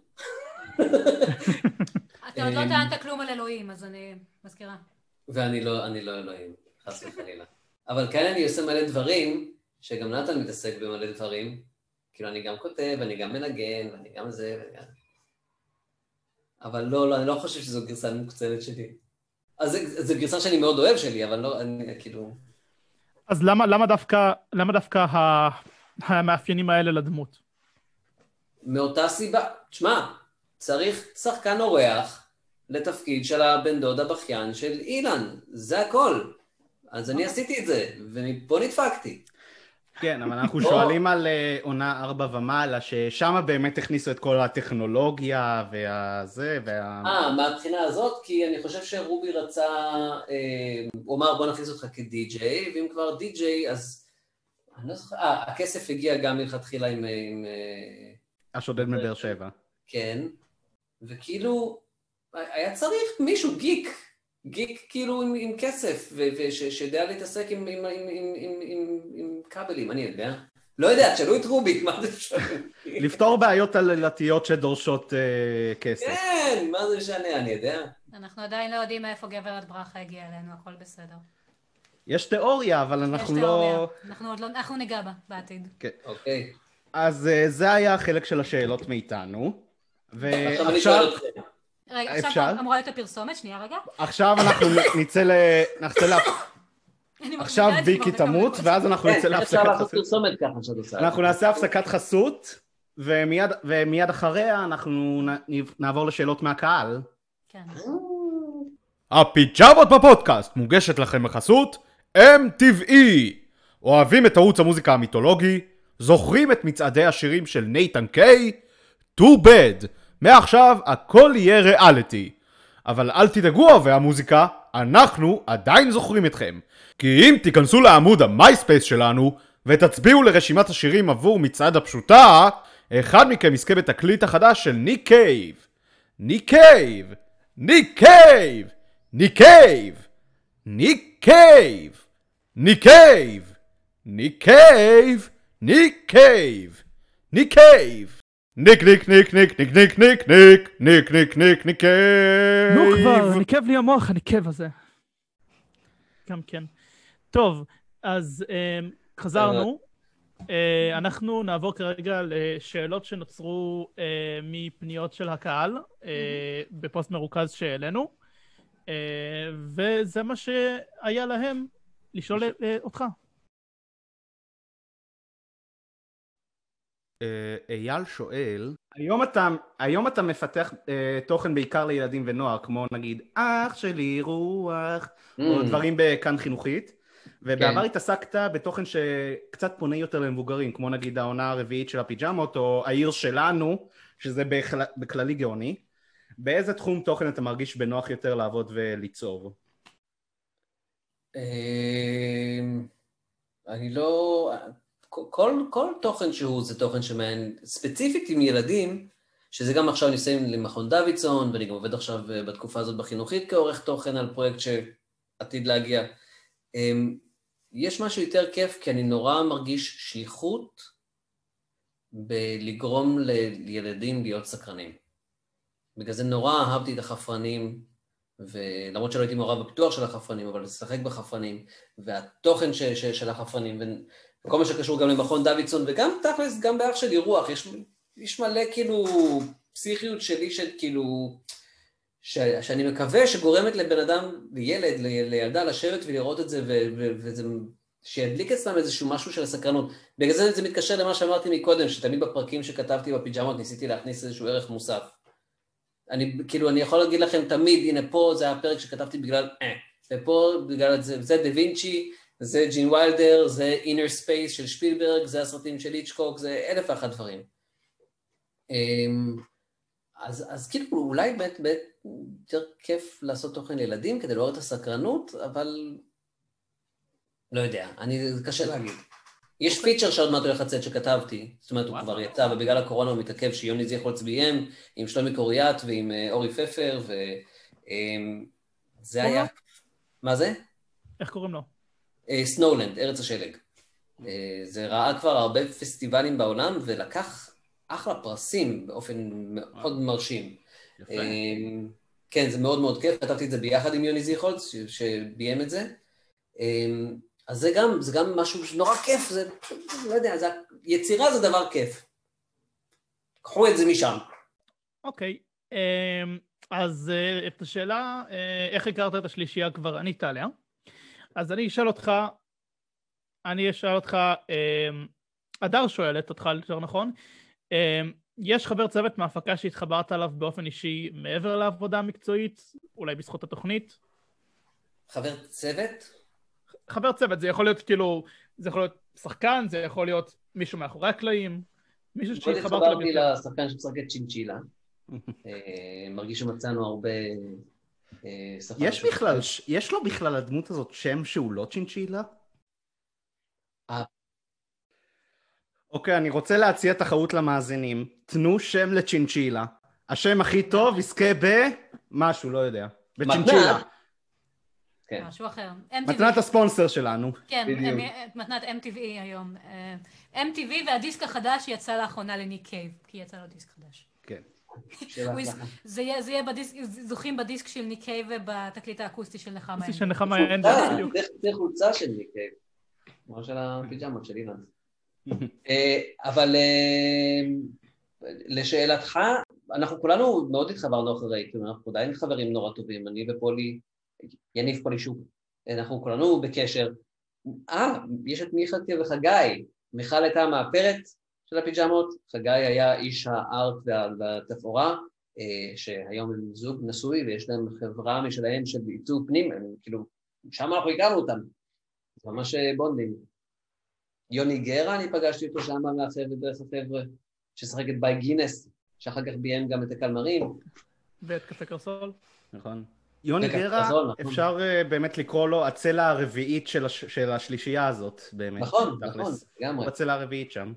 S3: אתה עוד לא
S4: אמ,
S3: טענת כלום על אלוהים, אז אני מזכירה.
S4: ואני לא, אני לא אלוהים, חס וחלילה. אבל כאן אני עושה מלא דברים, שגם נתן מתעסק במלא דברים. כאילו, אני גם כותב, אני גם מנגן, ואני גם זה, ואני גם... אבל לא, לא, אני לא חושב שזו גרסה מוקצנת שלי. אז זה- זו גרסה שאני מאוד אוהב שלי, אבל לא, אני כאילו...
S1: אז למה, למה דווקא, למה דווקא ה, המאפיינים האלה לדמות?
S4: מאותה סיבה, תשמע, צריך שחקן אורח לתפקיד של הבן דוד הבכיין של אילן, זה הכל. אז אני עשיתי את זה, ומפה נדפקתי.
S2: כן, אבל אנחנו
S4: לא.
S2: שואלים על אה, עונה ארבע ומעלה, ששם באמת הכניסו את כל הטכנולוגיה והזה, וה...
S4: אה, מהבחינה הזאת, כי אני חושב שרובי רצה, אה, הוא אמר בוא נכניס אותך כדי-ג'יי, ואם כבר די-ג'יי, אז... אני לא זוכר, אה, הכסף הגיע גם מלכתחילה עם... אה, עם אה,
S2: השודד מבאר שבע.
S4: כן, וכאילו, היה צריך מישהו, גיק, גיק כאילו עם, עם כסף, ו- וש- שיודע להתעסק עם, עם, עם, עם, עם, עם, עם כבלים, אני יודע. לא יודע, תשאלו את רוביק, מה זה שואל?
S2: לפתור בעיות עלילתיות שדורשות אה, כסף.
S4: כן, מה זה משנה, אני יודע.
S3: אנחנו עדיין לא יודעים מאיפה גברת ברכה הגיעה אלינו, הכל בסדר.
S2: יש תיאוריה, אבל
S3: יש
S2: אנחנו
S3: תיאוריה.
S2: לא...
S3: אנחנו עוד לא, אנחנו ניגע בה בעתיד.
S4: אוקיי.
S2: אז אה, זה היה החלק של השאלות מאיתנו. אה,
S4: עכשיו אני שואל
S2: ועכשיו
S4: אתכם.
S3: רגע,
S2: אפשר?
S3: עכשיו אמורה להיות הפרסומת, שנייה רגע.
S2: עכשיו אנחנו נצא ל... נחצה להפ-
S3: אני
S2: עכשיו
S3: מרגישה את זה כבר
S2: ויקי
S3: בכמה
S2: תמות,
S3: דקות.
S2: ואז אנחנו נצא
S4: כן, אפשר
S2: להפסקת
S4: לעשות
S2: חסות.
S4: פרסומת ככה שאת עושה.
S2: אנחנו נעשה הפסקת חסות, ומיד- ומיד אחריה אנחנו נ- נעבור לשאלות מהקהל.
S3: כן.
S5: הפיג'מות בפודקאסט מוגשת לכם בחסות אם טבעי. אוהבים את ערוץ המוזיקה המיתולוגי? זוכרים את מצעדי השירים של נייתן קיי? too bad. מעכשיו הכל יהיה ריאליטי. אבל אל תדאגו אוהבי המוזיקה, אנחנו עדיין זוכרים אתכם. כי אם תיכנסו לעמוד המייספייס שלנו ותצביעו לרשימת השירים עבור מצעד הפשוטה, אחד מכם יזכה בתקליט החדש של ניק קייב. ניק קייב! ניק קייב! ניק קייב! ניק קייב! ניק קייב! ניק קייב! ניק קייב! ניק קייב! ניק ניק ניק ניק ניק ניק ניק ניק ניק ניק ניק ניק קייב!
S1: נו כבר, ניקב לי המוח, הניקב הזה. גם כן. טוב, אז אה, חזרנו. אה, אנחנו נעבור כרגע לשאלות שנוצרו אה, מפניות של הקהל, אה, בפוסט מרוכז שהעלינו, אה, וזה מה שהיה להם לשאול אה, אותך.
S5: אה, אייל שואל,
S2: היום אתה, היום אתה מפתח אה, תוכן בעיקר לילדים ונוער, כמו נגיד אח שלי רוח, או דברים בכאן חינוכית. ובעבר
S4: Mm. כן.
S2: התעסקת בתוכן שקצת פונה יותר למבוגרים, כמו נגיד העונה הרביעית של הפיג'מות, או העיר שלנו, שזה בכלל- בכללי גאוני. באיזה תחום תוכן אתה מרגיש בנוח יותר לעבוד וליצור?
S4: אמ, אני לא... כל, כל תוכן שהוא זה תוכן שמעניין, ספציפית עם ילדים, שזה גם עכשיו ניסיון למכון דוידסון, ואני גם עובד עכשיו אה, בתקופה הזאת בחינוכית כעורך תוכן על פרויקט שעתיד להגיע. אמ, יש משהו יותר כיף, כי אני נורא מרגיש שליחות בלגרום לילדים להיות סקרנים. בגלל זה נורא אהבתי את החפרנים, ולמרות שלא הייתי מעורב בפיתוח של החפרנים, אבל לשחק בחפרנים, והתוכן ש, ש, של החפרנים, וכל מה שקשור גם למכון דוידסון, וגם תכלס, גם באח שלי רוח, יש, יש מלא כאילו פסיכיות שלי של כאילו, ש, שאני מקווה שגורמת לבן אדם, לילד, ל, לילדה, לשבת ולראות את זה, ו, ו, וזה, שידליק אצלם איזשהו משהו של הסקרנות. בגלל זה זה מתקשר למה שאמרתי מקודם, שתמיד בפרקים שכתבתי בפיג'מות ניסיתי להכניס איזשהו ערך מוסף. אני, כאילו, אני יכול להגיד לכם תמיד, הנה פה זה הפרק שכתבתי בגלל אה, ופה בגלל זה, זה דה וינצ'י, זה ג'ין ויילדר, זה אינר ספייס של שפילברג, זה הסרטים של היצ'קוק, זה אלף ואחת דברים. אמ, אז, אז כאילו, אולי באמת, באמת יותר כיף לעשות תוכן לילדים כדי לעורר את הסקרנות, אבל לא יודע, אני, זה קשה להגיד. יש פיצ'ר שעוד מעט הולך לצאת שכתבתי, זאת אומרת, הוא
S1: וואו.
S4: כבר יצא, ובגלל הקורונה הוא מתעכב שיוני זיכולץ ביים, עם שלומי קוריאט ועם אה, אורי פפר, ו... אמ, זה היה... מה זה?
S1: איך קוראים לו?
S4: אה, סנולנד, ארץ השלג. אה, זה ראה כבר הרבה פסטיבלים בעולם, ולקח אחלה פרסים באופן מאוד מרשים.
S5: יפה.
S4: אמ, כן, זה מאוד מאוד כיף, כתבתי את זה ביחד עם יוני זיכולץ, ש- שביים את זה. אמ, אז זה גם, זה גם משהו שנורא כיף, זה, לא יודע, זה, יצירה זה דבר כיף. קחו את זה משם.
S1: אוקיי, אמ, אז אה, את השאלה, אה, איך הכרת את השלישייה כבר ענית עליה. אז אני אשאל אותך, אני אשאל אותך, אמ, הדר שואלת אותך, יותר נכון, אמ, יש חבר צוות מההפקה שהתחברת אליו באופן אישי מעבר לעבודה המקצועית, אולי בזכות התוכנית?
S4: חבר צוות?
S1: חבר צוות, זה יכול להיות כאילו, זה יכול להיות שחקן, זה יכול להיות מישהו מאחורי הקלעים, מישהו
S4: מאוד
S1: שהתחברת אליו.
S4: התחברתי
S1: יותר.
S4: לשחקן שמשחק את צ'ינצ'ילה. אה, מרגיש שמצאנו הרבה... אה, שחקן
S2: יש
S4: ש-
S2: בכלל, יש לו בכלל לדמות הזאת שם שהוא לא צ'ינצ'ילה?
S4: אה.
S2: אוקיי, אני רוצה להציע תחרות למאזינים. תנו שם לצ'ינצ'ילה. השם הכי טוב יזכה ב... משהו, לא יודע. בצ'ינצ'ילה.
S4: מתנת. כן.
S3: משהו אחר. MTV.
S2: מתנת הספונסר שלנו.
S3: כן,
S4: בדיוק.
S3: אמ- מתנת MTV היום. אה, MTV והדיסק החדש יצא לאחרונה לניק קייב, כי יצא לו דיסק חדש.
S2: כן.
S4: שאלה
S3: הוא יז-
S4: אחת.
S3: זה יהיה זה יהיה בדיסק, זוכים בדיסק של ניק קייב ובתקליט האקוסטי של נחמה.
S1: עשיתי
S3: אין.
S1: של נחמה אין,
S4: חולצה,
S1: בדיוק.
S4: צריך- צריך חולצה של ניקב. כמו של הפיג'מות של אילן. אה, אבל אה, לשאלתך, אנחנו כולנו מאוד התחברנו אחרי, כאילו אנחנו עדיין חברים נורא טובים, אני ופולי, יניב פולישוק, אנחנו כולנו בקשר. אה, יש את מיכל וחגי, מיכל הייתה המאפרת של הפיג'מות, חגי היה איש הארט וה- והתפאורה, אה, שהיום הם זוג נשוי ויש להם חברה משלהם של עיצוב פנים, הם כאילו, שם אנחנו הכרנו אותם, זה ממש אה, בונדים. יוני גרה, אני פגשתי אותו שם מהחבר'ה, דרך החבר'ה, ששחק את ביי גינס, שאחר כך ביים גם את הקלמרים.
S1: ואת קפה קרסול.
S2: נכון. יוני
S4: רגע,
S2: גרה,
S4: תחזור, נכון.
S2: אפשר אה, באמת לקרוא לו הצלע הרביעית של הש- של השלישייה הזאת, באמת.
S4: נכון,
S2: תכלס. כן.
S4: נכון, לגמרי,
S2: הוא הצלע הרביעית שם.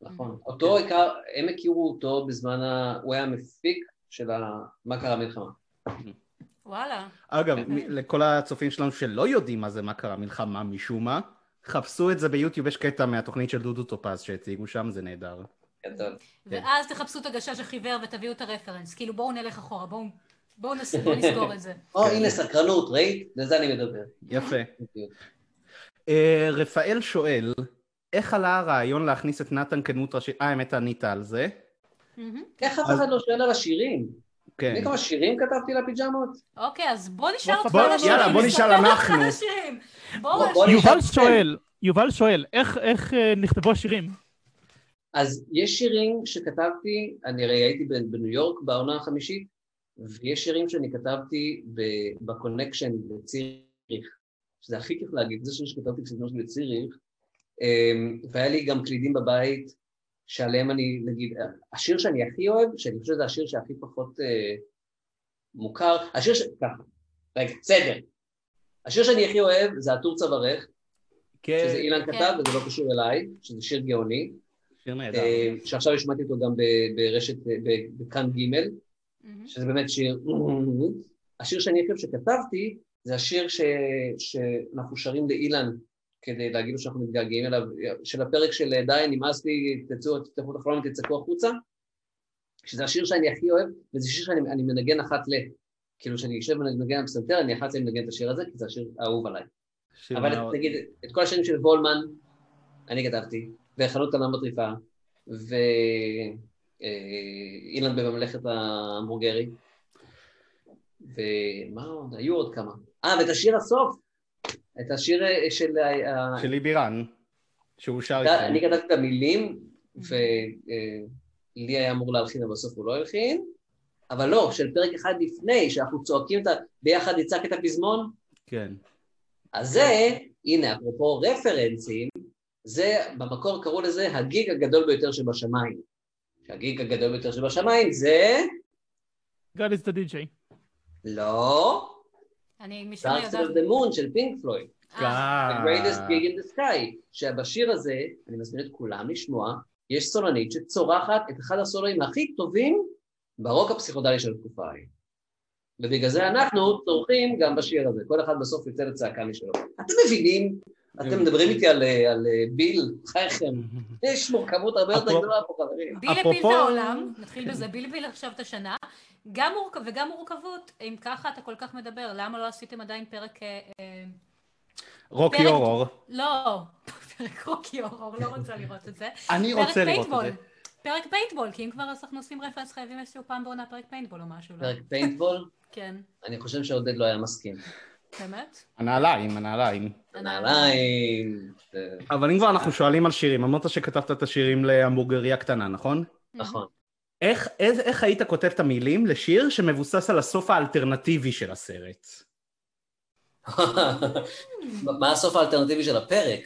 S4: נכון. אותו עיקר, הם הכירו אותו בזמן ה... הוא היה המפיק של ה... מה קרה מלחמה.
S3: וואלה.
S2: אגב, מ- לכל הצופים שלנו שלא יודעים מה זה מה קרה מלחמה משום מה, חפשו את זה ביוטיוב, יש קטע מהתוכנית של דודו טופז שהציגו שם, זה נהדר.
S4: גדול.
S3: ואז תחפשו את הגשש החיוור ותביאו את הרפרנס. כאילו בואו נלך אחורה, בואו בואו נס- בואו נסגור את זה.
S2: כן.
S4: או, הנה סקרנות, ראית? לזה אני מדבר.
S2: יפה.
S4: בדיוק.
S2: אה, רפאל שואל, איך עלה הרעיון להכניס את נתן כדמות ראשית? אה, האמת, ענית על זה.
S3: מהמם.
S4: איך אף
S2: אז-
S4: אחד לא שואל על השירים?
S2: כן.
S4: אני כמה שירים כתבתי לפיג'מות?
S3: אוקיי, אז בוא נשאל אותך
S1: בוא-
S3: על השירים.
S1: יאללה, בוא
S2: נשאל
S3: נספר
S2: אנחנו.
S3: אותך על השירים. בוא
S4: בוא-
S3: נשאל-
S4: בוא
S1: יובל
S4: נשאל-
S1: שואל, יובל שואל, איך, איך אה, נכתבו השירים?
S4: אז יש שירים שכתבתי, אני הרי הייתי ב- בניו יורק בעונה החמישית, ויש שירים שאני כתבתי ב- בקונקשן בציריך, שזה הכי כיף להגיד, זה שיר שכתבתי בסגנון שלי בציריך, אמ, והיה לי גם קלידים בבית, שעליהם אני, נגיד, השיר שאני הכי אוהב, שאני חושב שזה השיר שהכי פחות אה, מוכר, השיר ש... ככה, רגע, סדר. השיר שאני הכי אוהב זה "עטור צווארך", שזה
S2: כן,
S4: אילן
S3: כן.
S4: כתב וזה לא קשור אליי, שזה שיר גאוני.
S2: שיר נהדר.
S4: אה, שעכשיו השמעתי אותו גם ב- ברשת, אה, ב- בכאן ג',
S3: מהמם.
S4: שזה באמת שיר... השיר שאני חושב שכתבתי, זה השיר ש... שאנחנו שרים לאילן כדי להגיד לו שאנחנו מתגעגעים אליו, של הפרק של אה, די, נמאס לי, תצאו, תפתחו את החלום ותצעקו החוצה, שזה השיר שאני הכי אוהב, וזה שיר שאני אני מנגן אחת ל... כאילו, כשאני יושב ומנגן על פסנתר, אני אחת למנגן את השיר הזה, כי זה השיר האהוב עליי.
S2: שיר
S4: אבל
S2: מאוד.
S4: תגיד, את כל השירים של וולמן, אני כתבתי, וחנות ענן מטריפה, ואילן אה, בממלכת ההמבורגרי, ומה עוד? היו עוד כמה. אה, ואת השיר הסוף, את השיר אה, של... ה- ה-
S2: של ליבירן, שהוא שר
S4: אתה- אה, אני
S2: איתכם.
S4: כתבתי את המילים, ולי היה אמור להלחין, אבל בסוף הוא לא הלחין, אבל לא, של פרק אחד לפני, שאנחנו צועקים את ה... ביחד נצעק את הפזמון,
S2: כן.
S4: אז זה, הנה, אפרופו רפרנסים, זה, במקור קראו לזה הגיג הגדול ביותר שבשמיים. שהגיג הגדול ביותר שבשמיים זה...
S1: God is the DJ.
S4: לא,
S3: אני משום מה
S4: Dark
S3: יודעת...
S4: Side of the Moon של פינק פלויד,
S3: אה,
S2: Ah.
S4: The Greatest Gig in the Sky, שבשיר הזה, אני מזמין את כולם לשמוע, יש סולנית שצורחת את אחד הסולואים הכי טובים ברוק הפסיכודלי של התקופה ההיא. ובגלל זה אנחנו צורכים גם בשיר הזה, כל אחד בסוף יוצא לצעקה משלו. אתם מבינים? אתם מדברים איתי על, אה, על אה, ביל, חייכם. יש מורכבות הרבה יותר
S2: אפרופו-
S4: גדולה פה, חברים.
S3: ביל הפיל את
S2: אפרופו-
S3: העולם, נתחיל בזה, ביל הפיל עכשיו את השנה, גם מורכב, וגם מורכבות, אם ככה אתה כל כך מדבר, למה לא עשיתם עדיין פרק... אה, אה,
S2: רוקי
S3: פרק-
S2: אורור.
S3: לא, פרק רוקי אורור, לא רוצה לראות את זה.
S2: אני רוצה לראות את זה.
S3: פרק פיינטבול, כי אם כבר אז אנחנו עושים רפרנס חייבים איזשהו פעם בעונה פרק פיינטבול או משהו, לא?
S4: פרק פיינטבול,
S3: כן,
S4: אני חושב שעודד לא היה מסכים.
S3: באמת?
S2: הנעליים, הנעליים.
S4: נעליים. זה-
S2: אבל אם כבר אנחנו שואלים על שירים, אמרת שכתבת את השירים להמבורגריה קטנה, נכון?
S3: Mm. Mm-hmm.
S4: נכון.
S2: איך, איך, איך היית כותב את המילים לשיר שמבוסס על הסוף האלטרנטיבי של הסרט?
S4: מה הסוף האלטרנטיבי של הפרק?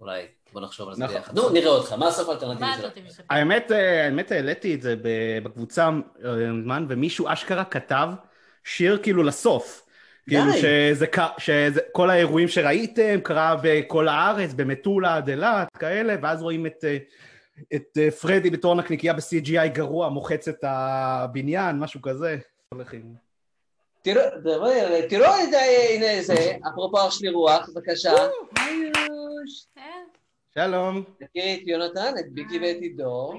S4: אולי, בוא נחשוב על זה
S2: נכון.
S4: ביחד. נו, נראה אותך, מה הסוף האלטרנטיבי
S3: מה
S4: של
S3: אתה
S4: הפרק?
S3: רוצה לשפר?
S2: האמת, אה, האמת העליתי את זה ב- בקבוצה אה, מזמן, ומישהו אשכרה כתב שיר כאילו לסוף.
S4: די.
S2: כאילו שזה, ק- שזה כל האירועים שראיתם, קרה בכל הארץ, במטולה עד אילת, כאלה, ואז רואים את, אה, את אה, פרדי בתור נקניקייה ב-CGI גרוע, מוחץ את הבניין, משהו כזה. הולכים.
S4: תראו, תראו- תראו את זה, הנה זה, אפרופו אח שלי רוח, בבקשה. היוש.
S3: אה,
S2: שלום.
S4: תכירי את יונתן, את ביקי ואת עידו.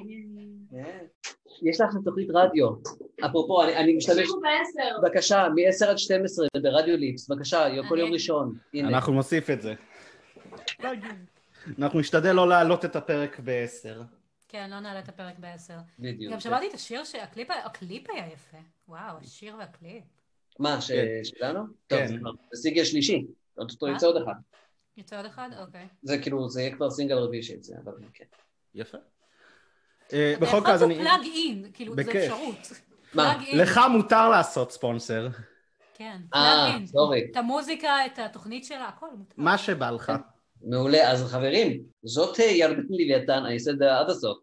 S4: כן. יש לך תוכנית רדיו. אפרופו, אני- אני משתמש... בבקשה, מ-10 עד 12 ברדיו ליפס, בבקשה, כל יום
S3: אני-
S4: ראשון. הנה.
S2: אנחנו נוסיף את זה.
S3: לא
S2: אנחנו נשתדל לא להעלות את הפרק בעשר.
S3: כן, לא נעלה את הפרק בעשר.
S4: בדיוק.
S3: גם שמעתי את השיר, שהקליפ היה- הקליפ היה יפה. וואו, השיר והקליפ.
S4: מה, ש-
S2: כן.
S4: שלנו?
S2: כן.
S4: טוב, זה כבר סינגל שלישי. עוד אותו
S3: מה?
S4: יצא עוד אחד.
S3: יוצא עוד אחד? אוקיי.
S2: אה,
S4: זה כאילו, זה יהיה כבר סינגל רביעי שיצא, אבל כן.
S2: יפה. אה,
S3: אתה
S2: בכל
S3: יכול
S2: מקרה, אז
S3: פה
S2: אני...
S3: פלאג אין, כאילו, זה
S2: בכיף.
S3: אפשרות.
S4: מה?
S3: פלאג אין.
S2: לך מותר לעשות ספונסר,
S3: כן, פלאג
S4: אה,
S3: אין.
S4: סורי.
S3: את המוזיקה, את התוכנית שלה, הכל מותר.
S2: מה שבא לך.
S4: מעולה. אז חברים, זאת אה, ירדן לוויתן, אני אעשה את זה עד הסוף.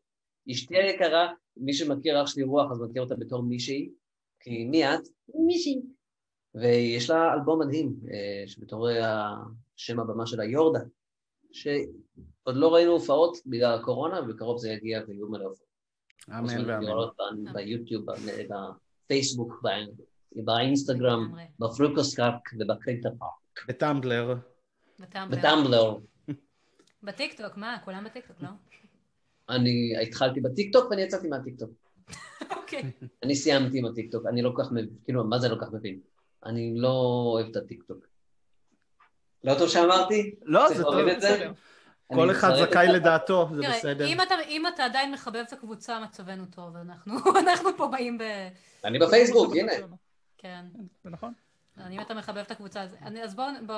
S4: אשתי היקרה, מי שמכיר אח שלי רוח, אז מכיר אותה בתור מישהי, כי מי את? מישהי. ויש לה אלבום מדהים, אה, שבתור אה, שם הבמה שלה יורדה, שעוד לא ראינו הופעות בגלל הקורונה, ובקרוב זה יגיע ויהיו מלא הופעות. אוקיי.
S2: אמן ואמן.
S4: לראות בנו ביוטיוב, ב- בפייסבוק, ב- באינסטגרם,
S3: לגמרי.
S4: בפרוקוסקאפ ובקטע פארק,
S2: בטמבלר.
S3: בטמבלר.
S4: בטמבלר.
S3: בטיקטוק, מה? כולם בטיקטוק, לא?
S4: אני התחלתי בטיקטוק ואני יצאתי מהטיקטוק.
S3: אוקיי.
S4: אני סיימתי עם הטיקטוק, אני לא כל כך מבין, כאילו, מה זה לא כל כך מבין? אני לא אוהב את הטיקטוק. לא טוב שאמרתי?
S3: אוקיי.
S2: לא,
S4: צריך
S2: זה
S4: להוריד
S2: טוב,
S4: את זה?
S2: בסדר.
S4: אני
S2: כל אחד
S4: מצרף
S2: זכאי
S4: את ה-
S2: לדעתו, זה בסדר.
S3: תראה, אם אתה- אם אתה עדיין מחבב את הקבוצה, מצבנו טוב, אנחנו אנחנו פה באים ב...
S4: אני בפייסבוק, הנה.
S3: כן.
S1: זה נכון.
S3: אז אם אתה מחבב את הקבוצה, אז, אני- אז בואו בוא,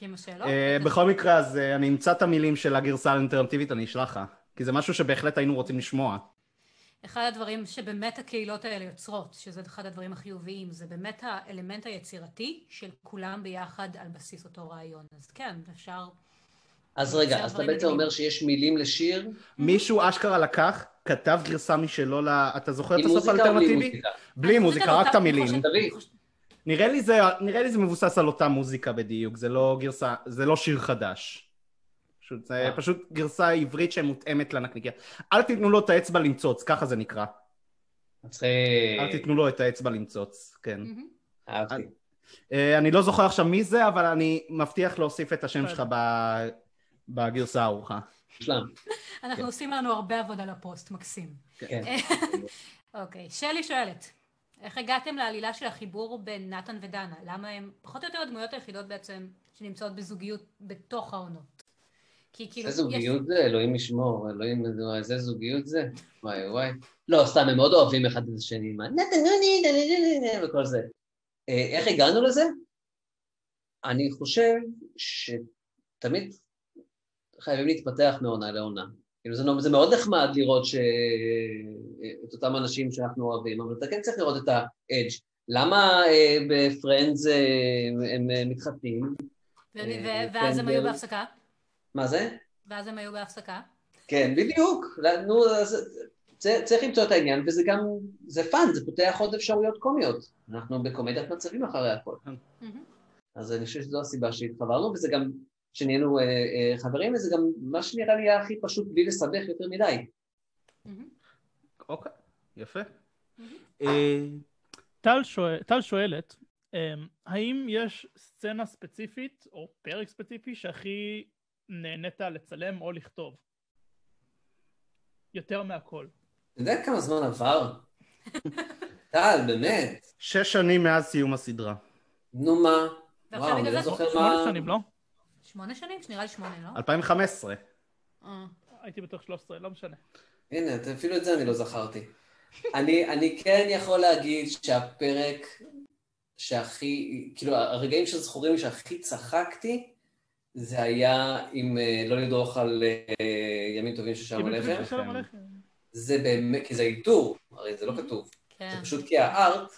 S3: עם השאלות.
S2: אה, בכל מקרה, אז אה, אני אמצא את המילים של הגרסה האלטרנטיבית, אני אשלח לך. כי זה משהו שבהחלט היינו רוצים לשמוע.
S3: Mm-hmm. אחד הדברים שבאמת הקהילות האלה יוצרות, שזה אחד הדברים החיוביים, זה באמת האלמנט היצירתי של כולם ביחד על בסיס אותו רעיון. אז כן, אפשר...
S4: אז רגע, אז אתה
S3: דברים
S4: בעצם
S3: מדהימים.
S4: אומר שיש מילים לשיר?
S2: מישהו אשכרה לקח, כתב גרסה משלו ל... אתה זוכר את
S4: עם
S2: הסוף
S4: מוזיקה או בלי
S2: האלטרנטיבי?
S4: מוזיקה?
S2: בלי מוזיקה, רק את המילים.
S3: אני חושבת- אני חושבת-
S2: נראה לי זה, נראה לי זה מבוסס על אותה מוזיקה בדיוק, זה לא גרסה, זה לא שיר חדש. פשוט, זה
S4: אה.
S2: פשוט גרסה עברית שמותאמת לנקניקיה. אל תיתנו לו את האצבע למצוץ, ככה זה נקרא. אל
S4: מצחיק.
S2: תיתנו לו את האצבע למצוץ, כן.
S3: מהמם.
S4: אה, אהבתי.
S2: אה, אני לא זוכר עכשיו מי זה, אבל אני מבטיח להוסיף את השם
S1: בסדר.
S2: שלך ב- בגרסה הערוכה.
S4: מושלם.
S3: אנחנו עושים לנו הרבה עבודה לפוסט, מקסים.
S4: כן.
S3: אוקיי, שלי שואלת, איך הגעתם לעלילה של החיבור בין נתן ודנה? למה הם פחות או יותר הדמויות היחידות בעצם שנמצאות בזוגיות בתוך העונות? כי כאילו...
S4: איזה
S3: יש-
S4: זוגיות זה, אלוהים ישמור, אלוהים, איזה זוגיות זה, וואי וואי. לא, סתם, הם מאוד אוהבים אחד את השני, מה, נתן, נוני, נוני, נוני, וכל זה. אה, איך הגענו לזה? אני חושב שתמיד חייבים להתפתח מעונה לעונה. כאילו זה, נו- זה מאוד נחמד לראות ש... את אותם אנשים שאנחנו אוהבים, אבל אתה כן צריך לראות את ה-edge. למה אה, בפרנדס אה, הם אה, מתחתנים?
S3: ו-
S4: אה,
S3: ו- ואז הם
S4: פנדל.
S3: היו בהפסקה?
S4: מה זה?
S3: ואז הם היו בהפסקה?
S4: כן, בדיוק. נו, אז צ- צריך למצוא את העניין, וזה גם, זה פאן, זה פותח עוד אפשרויות קומיות. אנחנו בקומדיית מצבים אחרי הכל.
S3: מהמם.
S4: אז אני חושב שזו הסיבה שהתחברנו, וזה גם, שנהיינו אה, אה, חברים, וזה גם מה שנראה לי היה הכי פשוט בלי לסבך יותר מדי.
S3: מהמם.
S2: אוקיי, יפה.
S3: מהמם.
S2: אה,
S1: טל, שואל, טל שואלת, אמ, האם יש סצנה ספציפית או פרק ספציפי שהכי נהנית לצלם או לכתוב? יותר מהכל.
S4: אתה יודע כמה זמן עבר? טל, באמת.
S2: שש שנים מאז סיום הסדרה.
S4: נו מה?
S3: ועכשיו
S4: וואו,
S3: בגלל
S4: אני לא
S3: זה-
S4: זוכר
S1: שמונה
S4: מה...
S1: שנים, לא?
S3: שמונה שנים? נראה לי שמונה, לא?
S2: 2015.
S3: אה.
S1: הייתי בטוח 13, לא משנה.
S4: הנה, את- אפילו את זה אני לא זכרתי. אני, אני כן יכול להגיד שהפרק שהכי, כאילו, הרגעים שזכורים לי שהכי צחקתי, זה היה עם אה, לא לדרוך על אה, ימים טובים ששם
S1: אם
S4: הלחם.
S1: מישהו שלום עליכם.
S4: זה באמת, כי זה איתור, הרי זה לא כתוב. זה
S3: כן.
S4: פשוט כי הארט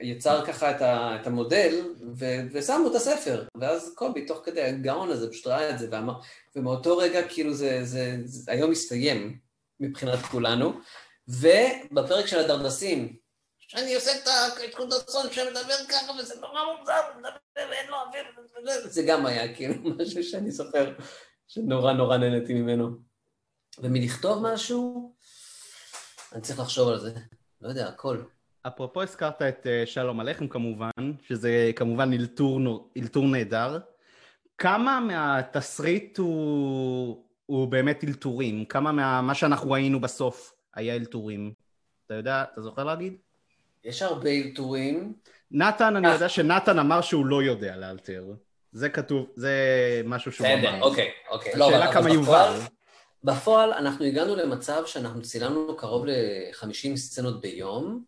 S4: יצר ככה את, ה, את המודל, ו, ושמו את הספר. ואז קובי, תוך כדי הגאון הזה, פשוט ראה את זה ואמר, ומאותו רגע, כאילו, זה, זה, זה היום הסתיים מבחינת כולנו. ובפרק של הדרדסים, שאני עושה את ה- את קונדסון שמדבר ככה, וזה נורא מוזר, הוא מדבר ואין לו אוויר, וזה- זה גם היה כאילו משהו שאני זוכר, שנורא נורא נהניתי ממנו. ומלכתוב משהו, אני צריך לחשוב על זה. לא יודע, הכל.
S2: אפרופו הזכרת את אה, שלום עליכם כמובן, שזה כמובן אלתור, נו- אלתור נהדר. כמה מהתסריט הוא, הוא באמת אלתורים? כמה מה- מה שאנחנו ראינו בסוף היה אלתורים? אתה יודע, אתה זוכר להגיד?
S4: יש הרבה אלתורים.
S2: נתן, אני
S4: אה.
S2: יודע שנתן אמר שהוא לא יודע לאלתר. זה כתוב, זה משהו שהוא אמר.
S4: אוקיי, אוקיי. לא,
S2: השאלה
S4: אבל-
S2: כמה
S4: אבל בפועל-
S2: יובל.
S4: בפועל אנחנו הגענו למצב שאנחנו צילמנו קרוב ל-50 סצנות ביום,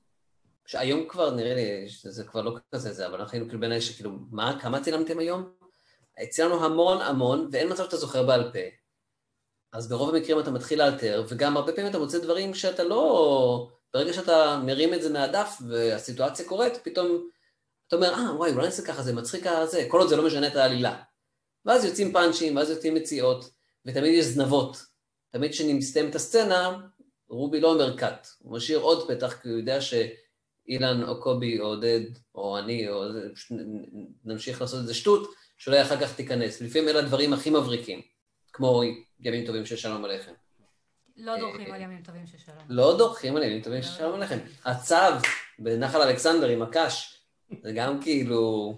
S4: שהיום כבר נראה לי שזה כבר לא כזה זה, אבל אנחנו היינו כאילו בין האלה שכאילו, מה, כמה צילמתם היום? צילמנו המון המון, ואין מצב שאתה זוכר בעל פה. אז ברוב המקרים אתה מתחיל לאלתר, וגם הרבה פעמים אתה מוצא דברים שאתה לא... ברגע שאתה מרים את זה מהדף והסיטואציה קורית, פתאום אתה אומר, אה, וואי, אולי נעשה ככה, זה מצחיק הזה, כל עוד זה לא משנה את העלילה. ואז יוצאים פאנצ'ים, ואז יוצאים מציאות, ותמיד יש זנבות. תמיד כשמסתיים את הסצנה, רובי לא אומר קאט, הוא משאיר עוד פתח, כי הוא יודע שאילן או קובי או עודד או אני, או זה, פשוט נ- נ- נמשיך לעשות את זה שטות, שאולי אחר כך תיכנס. לפעמים אלה הדברים הכי מבריקים, כמו ימים טובים של שלום עליכם.
S3: לא דורכים
S4: אה,
S3: על ימים טובים של שלום.
S4: לא דורכים עליהם, אם טובים ששלום עליכם. הצו בנחל אלכסנדר עם הקש, זה גם כאילו...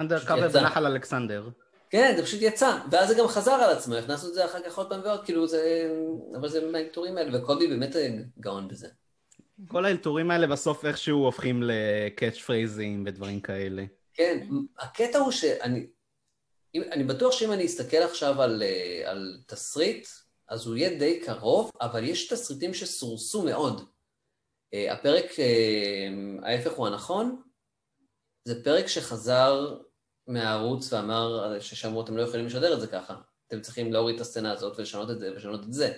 S2: אנדר קאבר
S4: אוקיי, יצא.
S2: בנחל אלכסנדר.
S4: כן, זה פשוט יצא, ואז זה גם חזר על עצמו, הכנסנו את זה אחר כך עוד פעם ועוד, כאילו זה... אבל זה מהאלתורים האלה, וקובי באמת גאון בזה.
S2: כל האלתורים האלה בסוף איכשהו הופכים לקאץ' פרייזים ודברים כאלה.
S4: כן, הקטע הוא שאני... אם, אני בטוח שאם אני אסתכל עכשיו על, אה, על תסריט, אז הוא יהיה די קרוב, אבל יש תסריטים שסורסו מאוד. אה, הפרק, אה, ההפך הוא הנכון, אה, זה פרק שחזר מהערוץ ואמר ששמעו, אתם לא יכולים לשדר את זה ככה. אתם צריכים להוריד את הסצנה הזאת ולשנות את זה ולשנות את זה,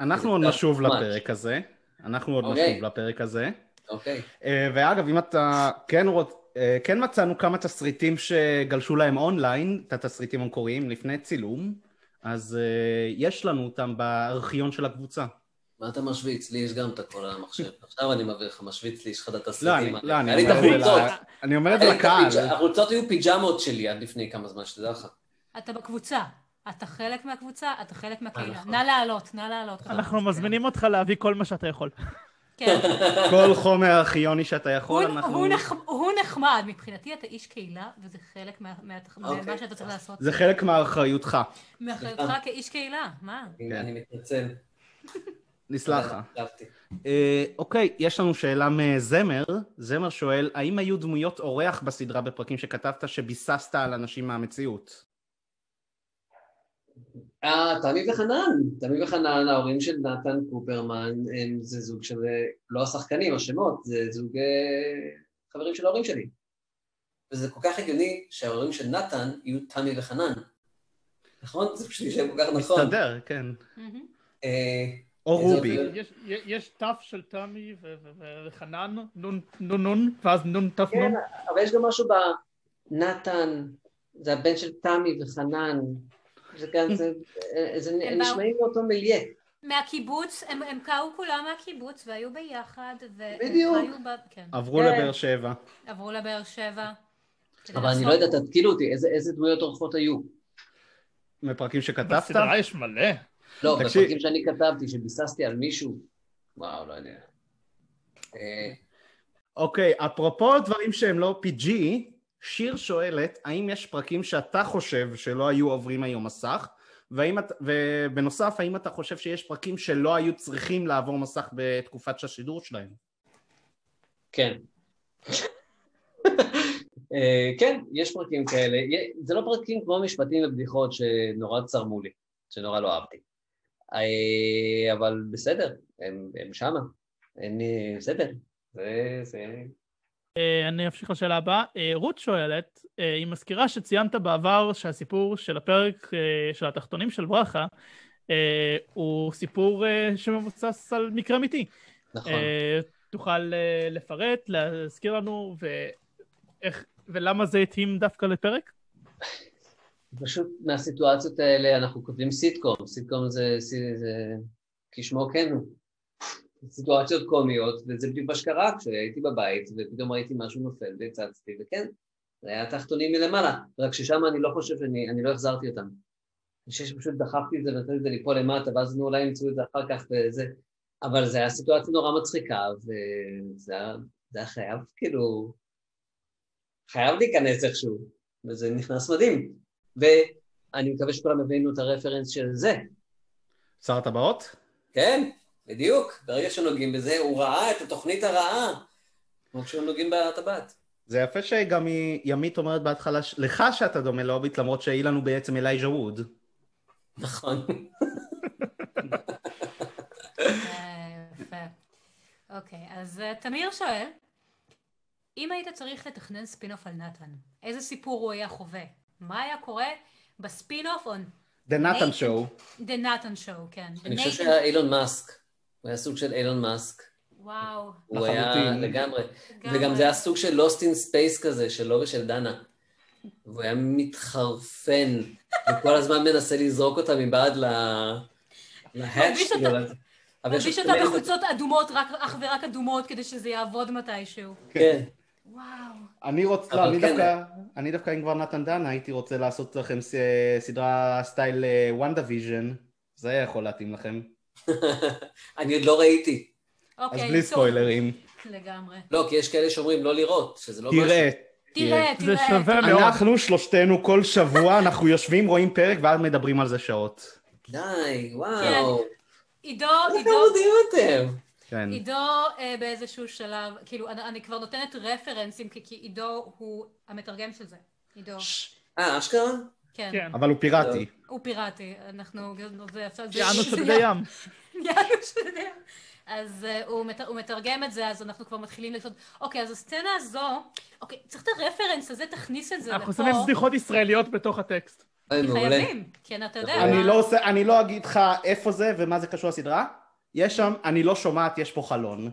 S2: אנחנו עוד
S4: זה
S2: נשוב
S4: ממש.
S2: לפרק הזה. אנחנו עוד
S4: אוקיי.
S2: נשוב לפרק הזה.
S4: אוקיי?
S2: אה, ואגב, אם אתה כן רוצ... אה, כן מצאנו כמה תסריטים שגלשו להם אונליין, את התסריטים המקוריים לפני צילום, אז אה, יש לנו אותם בארכיון של הקבוצה.
S4: מה אתה משוויץ? לי יש גם את הכל על המחשב. עכשיו אני מבהיר לך, משוויץ לי, יש לך את
S2: לא, אני,
S4: התסריטים.
S2: לא, אני
S4: היה לי את
S2: אומר
S1: אה,
S2: את זה
S4: החולצות.
S2: ל- אני אומר את זה
S4: היה לי את הפיג'-
S2: לקהל.
S4: החולצות היו פיג'מות שלי עד לפני כמה זמן, שתדע לך.
S3: אתה בקבוצה. אתה חלק מהקבוצה, אתה חלק מהקהילה.
S4: נכון.
S3: נא לעלות, נא לעלות.
S1: אנחנו מזמינים אותך להביא כל מה שאתה יכול.
S3: כן.
S2: כל חומר ארכיוני שאתה יכול,
S3: הוא-
S2: אנחנו...
S3: הוא נח- הוא נחמד. מבחינתי אתה איש קהילה, וזה חלק מה- מה-
S4: אוקיי. אה.
S3: ממה שאתה צריך לעשות.
S2: זה חלק מאחריותך,
S3: מאחריותך כאיש קהילה, מה?
S2: כן.
S4: הנה, אני מתנצל. אה,
S2: נסלח לך.
S4: אהבתי.
S2: אה, אוקיי, יש לנו שאלה מזמר. זמר שואל, האם היו דמויות אורח בסדרה בפרקים שכתבת שביססת על אנשים מהמציאות?
S4: אה, תמי וחנן, תמי וחנן, ההורים של נתן קופרמן, הם, זה זוג של, לא השחקנים, השמות, זה זוג אה, חברים של ההורים שלי. וזה כל כך הגיוני שההורים של נתן יהיו תמי וחנן. נכון? זה פשוט שם כל כך נכון.
S2: מסתדר, כן.
S3: מהמם.
S4: אה,
S2: או
S4: איזה
S2: רובי.
S4: עוד-
S1: יש- יש תף של תמי ו- ו- ו- וחנן, נון נון נון, ואז נון תף
S4: כן,
S1: נון.
S4: אבל יש גם משהו בנתן, זה הבן של תמי וחנן, זה גם, זה, אה, זה
S3: הם
S4: הם
S3: באו-
S4: נשמעים מאותו מיליה.
S3: מהקיבוץ, הם הם קאו כולם מהקיבוץ והיו ביחד, והם
S4: בדיוק.
S3: חיו ב... כן,
S2: עברו
S4: כן.
S2: לבאר שבע.
S3: עברו לבאר שבע. כדי
S4: אבל אני
S3: לעשות-
S4: לא יודעת, תתקילו אותי, איזה- איזה דמויות אורחות היו?
S2: מפרקים שכתבת?
S1: בסדרה יש מלא.
S4: לא,
S2: תקשיב.
S4: בפרקים שאני כתבתי, שביססתי על מישהו, וואו, לא יודע. אה,
S2: אוקיי, אפרופו דברים שהם לא PG, שיר שואלת, האם יש פרקים שאתה חושב שלא היו עוברים היום מסך? והאם את, ובנוסף, האם אתה חושב שיש פרקים שלא היו צריכים לעבור מסך בתקופת השידור שלהם?
S4: כן. אה, כן, יש פרקים כאלה. יה- זה לא פרקים כמו משפטים ובדיחות שנורא צרמו לי, שנורא לא אהבתי. אה, אבל בסדר, הם, הם שמה. אין, לי- בסדר. זה, זה...
S1: אה, אני אמשיך לשאלה הבאה. אה, רות שואלת, אה, היא מזכירה שציינת בעבר שהסיפור של הפרק אה, של התחתונים של ברכה אה, הוא סיפור אה, שמבוסס על מקרה אמיתי.
S4: נכון.
S1: אה, תוכל אה, לפרט, להזכיר לנו, ואיך- ולמה זה התאים דווקא לפרק?
S4: פשוט מהסיטואציות האלה אנחנו כותבים סיטקום, סיטקום זה, זה, זה כשמו כן הוא. סיטואציות קומיות, וזה בדיוק מה שקרה כשהייתי בבית, ופתאום ראיתי משהו נופל והצצתי, וכן, זה היה תחתונים מלמעלה, רק ששם אני לא חושב שאני אני לא החזרתי אותם. אני חושב שפשוט דחפתי את זה ונתתי את זה ליפול למטה, ואז נו, אולי ימצאו את זה אחר כך וזה. אבל זו הייתה סיטואציה נורא מצחיקה, וזה היה- זה היה חייב, כאילו, חייב להיכנס איכשהו, וזה נכנס מדהים. ואני מקווה שכולם הבינו את הרפרנס של זה.
S2: שר הטבעות?
S4: כן, בדיוק. ברגע שנוגעים בזה, הוא ראה את התוכנית הרעה, כמו כשנוגעים בטבעת.
S2: זה יפה שגם היא- ימית אומרת בהתחלה, ש- לך שאתה דומה להוביט, למרות שאילן הוא בעצם אלייג'ה ווד.
S4: נכון.
S3: אה, יפה. אוקיי, אז אה, תמיר שואל, אם היית צריך לתכנן ספינוף על נתן, איזה סיפור הוא היה חווה? מה היה קורה בספינוף on
S2: The
S3: נייט.
S2: נתן שואו.
S3: The נתן Show, כן.
S4: אני חושב
S3: Nathan-
S4: שהיה אילון מאסק. הוא היה סוג של אילון מאסק.
S3: וואו.
S4: הוא היה
S2: לחלוטין.
S4: לגמרי. וגם
S3: לגמרי.
S4: זה היה סוג של Lost in Space כזה, שלו ושל דנה. והוא היה מתחרפן, וכל הזמן מנסה לזרוק אותה מבעד ל- להאץ'
S3: מרגיש
S4: שלו.
S3: אותה-
S4: אבל יש
S3: מרגיש אותה
S4: לו-
S3: בחוצות אדומות, רק- אך ורק אדומות, כדי שזה יעבוד מתישהו.
S4: כן.
S3: וואו.
S2: אני רוצה,
S4: אבל
S2: אני
S4: כן.
S2: דווקא, אני דווקא אם כבר נתן דן, הייתי רוצה לעשות לכם ס- סדרה סטייל וונדה ויז'ן, זה היה יכול להתאים לכם.
S4: אני עוד לא ראיתי.
S2: אז
S3: אוקיי.
S2: בלי
S3: טוב.
S2: ספוילרים.
S3: לגמרי.
S4: לא, כי יש כאלה שאומרים לא לראות, שזה לא משהו.
S2: תראה,
S3: תראה,
S1: זה
S3: תראה.
S1: שווה מאוד.
S2: אנחנו שלושתנו כל שבוע, אנחנו יושבים, רואים פרק ואז מדברים על זה שעות.
S4: די,
S3: כן,
S4: וואו.
S3: עידו,
S4: איך
S3: עידו,
S4: יודעים אתם?
S2: כן.
S3: עידו אה, באיזשהו שלב, כאילו, אני, אני כבר נותנת רפרנסים, כי, כי עידו הוא המתרגם של זה. עידו,
S2: ש-
S4: אה, אשכרה?
S3: כן.
S1: כן.
S2: אבל הוא פיראטי.
S3: הוא פיראטי, אנחנו, זה עכשיו, זה-
S1: יענו
S3: זה-
S1: שודדי ים.
S3: יענו שודדי ים. אז אה, הוא מת- הוא מתרגם את זה, אז אנחנו כבר מתחילים לעשות, אוקיי, אז הסצנה הזו, אוקיי, צריך את הרפרנס הזה, תכניס את זה לפה.
S1: אנחנו שמים בדיחות ישראליות בתוך הטקסט.
S4: אוי,
S3: כי
S4: מעולה.
S3: חייבים, כן, אתה יודע.
S4: אני
S2: אני
S3: מה-
S2: לא עושה, אני לא אגיד לך איפה זה ומה זה קשור לסדרה. יש שם, אני לא שומעת, יש פה חלון.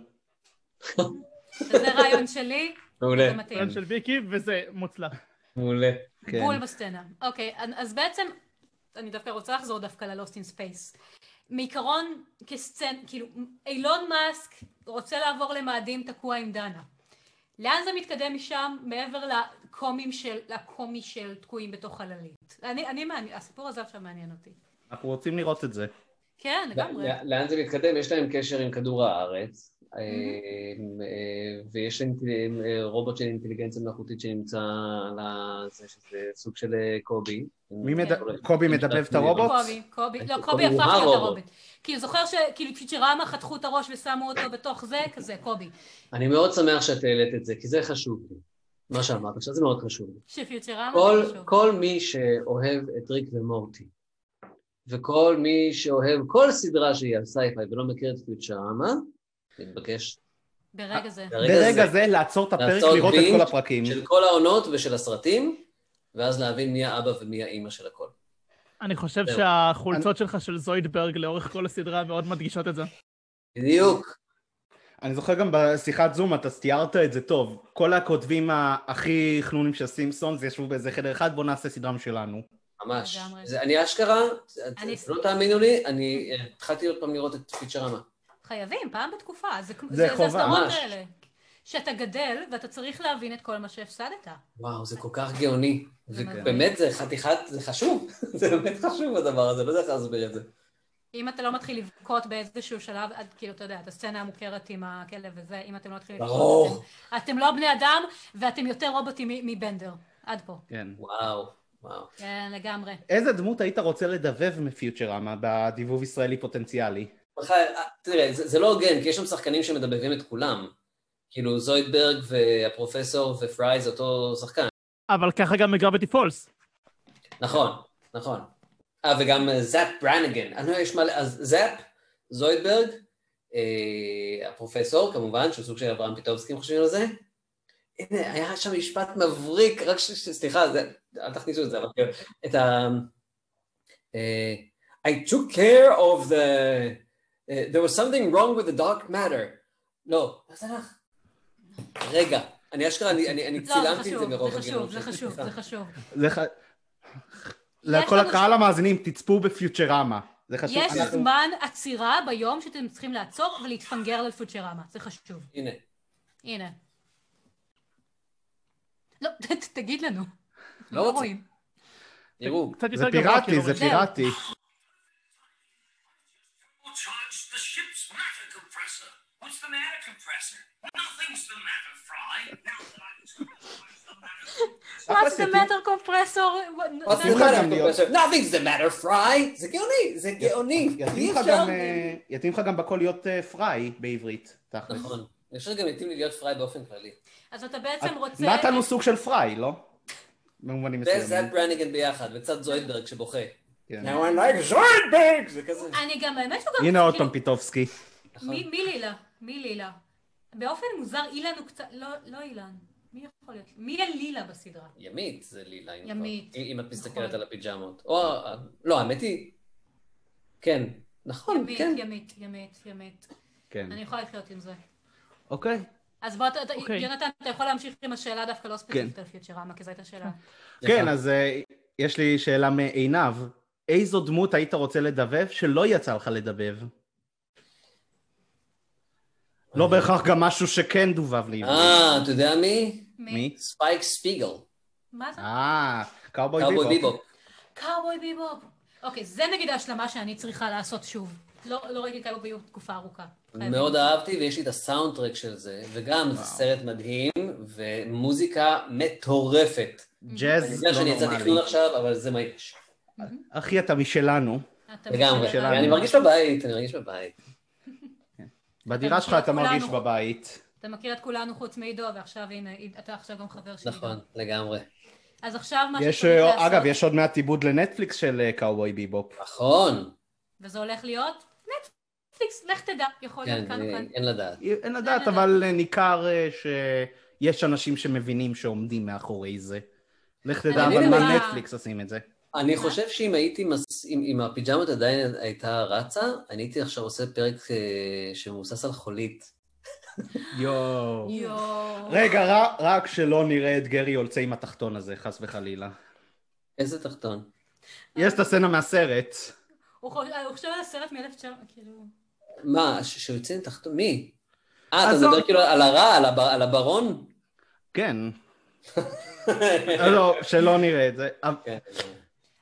S3: זה רעיון שלי,
S4: מעולה,
S3: זה מתאים.
S1: של ויקי, וזה מוצלח.
S4: מעולה.
S2: כן.
S3: בול בסצנה. אוקיי, אז- אז בעצם, אני דווקא רוצה לחזור דווקא ל-Lost in Space. מעיקרון, כסצנה, כאילו, אילון מאסק רוצה לעבור למאדים תקוע עם דנה. לאן זה מתקדם משם, מעבר לקומים של, לקומי של תקועים בתוך חללית? אני, אני מעניין, הסיפור הזה עכשיו מעניין אותי.
S2: אנחנו רוצים לראות את זה.
S3: כן, לגמרי.
S4: לא- לאן זה מתקדם? יש להם קשר עם כדור הארץ, אה, אה, ויש להם אה, רובוט של אינטליגנציה מלאכותית שנמצא על ה- זה שזה סוג של אה, קובי. לא-
S2: מי
S3: כן.
S2: מדבר? קובי מדבב את הרובוט?
S3: קובי, קובי, לא,
S4: קובי
S3: קובי
S4: הוא
S3: הפך להיות
S4: הרובוט.
S3: הרובוט. כאילו, זוכר שכאילו פשוט שרמה חתכו את הראש ושמו אותו בתוך זה, כזה, קובי.
S4: אני מאוד שמח שאת העלית את זה, כי זה חשוב לי. מה שאמרת עכשיו זה מאוד חשוב לי.
S3: שפיוטרמה
S4: כל,
S3: זה חשוב.
S4: כל מי שאוהב את ריק ומורטי, וכל מי שאוהב כל סדרה שהיא על סייפיי ולא מכיר את פיוטשרמה, מתבקש
S3: ברגע זה.
S2: ברגע זה לעצור את הפרק,
S4: לעשות
S2: לראות את
S4: בינג'
S2: כל הפרקים.
S4: של כל העונות ושל הסרטים, ואז להבין מי האבא ומי האימא של הכל.
S1: אני חושב
S4: זהו.
S1: שהחולצות שלך של זוידברג לאורך כל הסדרה מאוד מדגישות את זה.
S4: בדיוק.
S2: אני זוכר גם בשיחת זום, אתה תיארת את זה טוב. כל הכותבים הכי חנונים של סימפסונס ישבו באיזה חדר אחד, בואו נעשה סדרה משלנו.
S4: ממש.
S3: לגמרי.
S4: זה, אני אשכרה,
S3: אני-
S4: אתם לא תאמינו לי, אני אה, התחלתי עוד פעם לראות את פיצ'רמה.
S3: חייבים, פעם בתקופה. זה, כמו-
S2: זה
S3: זה,
S2: חובה,
S3: זה הסדרות
S4: ממש.
S3: האלה. שאתה גדל ואתה צריך להבין את כל מה שהפסדת.
S4: וואו, זה כל כך גאוני.
S3: זה מדהים.
S4: ובאמת, זה חתיכת, זה חשוב. זה באמת חשוב הדבר הזה, לא יודע איך להסביר את זה.
S3: אם אתה לא מתחיל לבכות באיזשהו שלב, עד, כאילו, אתה יודע, את הסצנה המוכרת עם הכלב וזה, אם אתם לא מתחילים לבכות,
S4: ברור.
S3: אתם, אתם לא בני אדם ואתם יותר רובוטים מ- מבנדר. עד פה.
S2: כן.
S4: וואו, וואו.
S3: כן, לגמרי.
S2: איזה דמות היית רוצה לדבב מפיוטרמה בדיבוב ישראלי פוטנציאלי?
S4: בכלל, אה, תראה, זה, זה לא הוגן, כי יש שם שחקנים שמדבבים את כולם. כאילו, זוידברג והפרופסור ופריי זה אותו שחקן.
S1: אבל ככה גם בגרביטי פולס.
S4: נכון, נכון. אה, וגם אה, זאפ ברנגן. אני לא יודע, יש מלא, אז זאפ, זוידברג, אה, הפרופסור, כמובן, שהוא סוג של אברהם פיטובסקי, אם חושבים על זה. הנה, היה שם משפט מבריק, רק ש... ש- סליחה, זה... אל תכניסו את זה, אבל כאילו, את ה... אה, I took care of the... אה, there was something wrong with the dark matter. לא, אז הלך. רגע, אני אשכרה, אני, אני, אני
S3: לא, זה
S4: צילמתי את זה
S3: חשוב,
S4: מרוב
S3: זה
S4: הגילוי
S3: חשוב, זה
S4: שלי,
S3: חשוב,
S4: סליחה.
S3: זה חשוב.
S2: זה ח...
S3: לנו
S2: לכל
S3: ש-
S2: הקהל המאזינים, תצפו בפיוטרמה. זה חשוב.
S3: יש
S2: אנחנו-
S3: זמן עצירה ביום שאתם צריכים לעצור ולהתפנגר לפוצ'רמה. זה חשוב.
S4: הנה.
S3: הנה. לא, ת- תגיד לנו.
S4: לא רוצה.
S3: רואים.
S4: יראו.
S1: קצת יותר
S2: זה
S1: גבוה,
S2: פיראטי,
S1: כאילו,
S2: זה
S1: רואים.
S2: פיראטי.
S6: Who charged the ship's matter compressor? What's the matter compressor? Nothing's the matter, Fry. Now that I've told you what's the matter.
S3: What's the matter compressor?
S4: What's the
S2: יתאים לך
S4: matter,
S2: גם להיות-
S4: פרופסור? Nothing's the לא, matter, פריי! זה גאוני, זה גאוני.
S2: יתאים
S4: אי
S2: לך
S4: אפשר-
S2: גם, אה, יתאים לך גם בקול להיות אה, פריי בעברית, תכל'ס.
S4: נכון. אני חושב שגם מתאים לי להיות פריי באופן כללי.
S3: אז אתה בעצם רוצה...
S2: נתן הוא סוג של פריי, לא? במובנים
S4: וזאפ
S2: מסוימים.
S4: ברניגן ביחד, וצד זוידברג שבוכה.
S2: כן.
S4: Now I like זוידברג! זה כזה.
S3: אני גם, האמת שהוא גם...
S2: הנה עוד
S3: כאילו,
S2: פעם פיטובסקי.
S3: מי מי לילה? מי לילה? באופן מוזר, אילן הוא קצת... לא, לא אילן. מי יכול להיות? מי הלילה בסדרה?
S4: כן, ימית זה לילה. אם
S3: ימית.
S4: כבר. אם אם את מסתכלת
S3: נכון.
S4: על הפיג'מות. או... לא, האמת היא... כן. נכון,
S3: ימית,
S4: כן.
S3: ימית, ימית, ימית.
S2: כן.
S3: אני יכולה לחיות עם זה.
S2: אוקיי.
S3: אז בוא, אתה- אתה-
S1: אוקיי.
S3: יונתן, אתה יכול להמשיך עם השאלה דווקא לא ספציפית על פיוטרמה, כי זו הייתה שאלה.
S2: כן, אז אה, יש לי שאלה מעינב. איזו דמות היית רוצה לדבב שלא יצא לך לדבב? לא בהכרח גם משהו שכן דובב לי.
S4: אה, אתה יודע מי?
S2: מי?
S4: ספייק ספיגל.
S3: מה זה?
S2: אה, קאובוי
S4: קאובוי
S2: ביבו.
S4: ביבופ.
S3: קאובוי ביבופ. אוקיי, זה נגיד ההשלמה שאני צריכה לעשות שוב. לא לא ראיתי קאובוי ביבופ תקופה ארוכה. חייבים.
S4: מאוד אהבתי, ויש לי את הסאונדטרק של זה, וגם זה סרט מדהים, ומוזיקה מטורפת. אני
S2: ג'אז
S4: יודע שאני
S2: לא
S4: יצא
S2: נורמלי.
S4: תכנון עכשיו, אבל זה מה יש.
S2: אחי, אתה משלנו.
S3: אתה
S4: לגמרי.
S3: משלנו.
S4: אני מרגיש בבית, אני מרגיש בבית.
S3: כן,
S2: בדירה שלך אתה מרגיש בבית.
S3: אתה מכיר את כולנו חוץ מעידו, ועכשיו הנה, עיד- אתה עכשיו גם חבר שלי.
S4: נכון,
S3: גם.
S4: לגמרי.
S3: אז עכשיו מה
S2: יש,
S3: שצריך
S2: אה,
S3: לעשות,
S2: אגב, יש עוד מעט עיבוד לנטפליקס של אה, קאובוי ביבופ.
S4: נכון.
S3: וזה הולך להיות נטפליקס, לך תדע,
S2: נכון,
S3: יכול להיות
S4: כן,
S3: כאן או כאן.
S4: אה, אין לדעת.
S2: אין לדעת, אבל אה, ניכר אה, שיש אנשים שמבינים שעומדים מאחורי זה. לך תדע
S4: אני
S2: אבל מה
S3: מבינה.
S2: נטפליקס עושים את זה.
S4: אני חושב שאם הייתי, מס... אם, אם הפיג'מות עדיין הייתה רצה, אני הייתי עכשיו עושה פרק אה, שמבוסס על חולית.
S2: יואו.
S3: יואו.
S2: רגע, ר- רק שלא נראה את גרי יוצא עם התחתון הזה, חס וחלילה.
S4: איזה תחתון.
S2: יש את הסצנה מהסרט.
S3: הוא חו- הוא חושב על הסרט מ-1900, כאילו...
S4: מה, ש- שהוא יוצא עם תחתון? מי? אה, אתה
S2: עזוב.
S4: מדבר כאילו על הרע, על, הב... על הברון?
S2: כן. לא, שלא נראה את זה. אה,
S4: כן.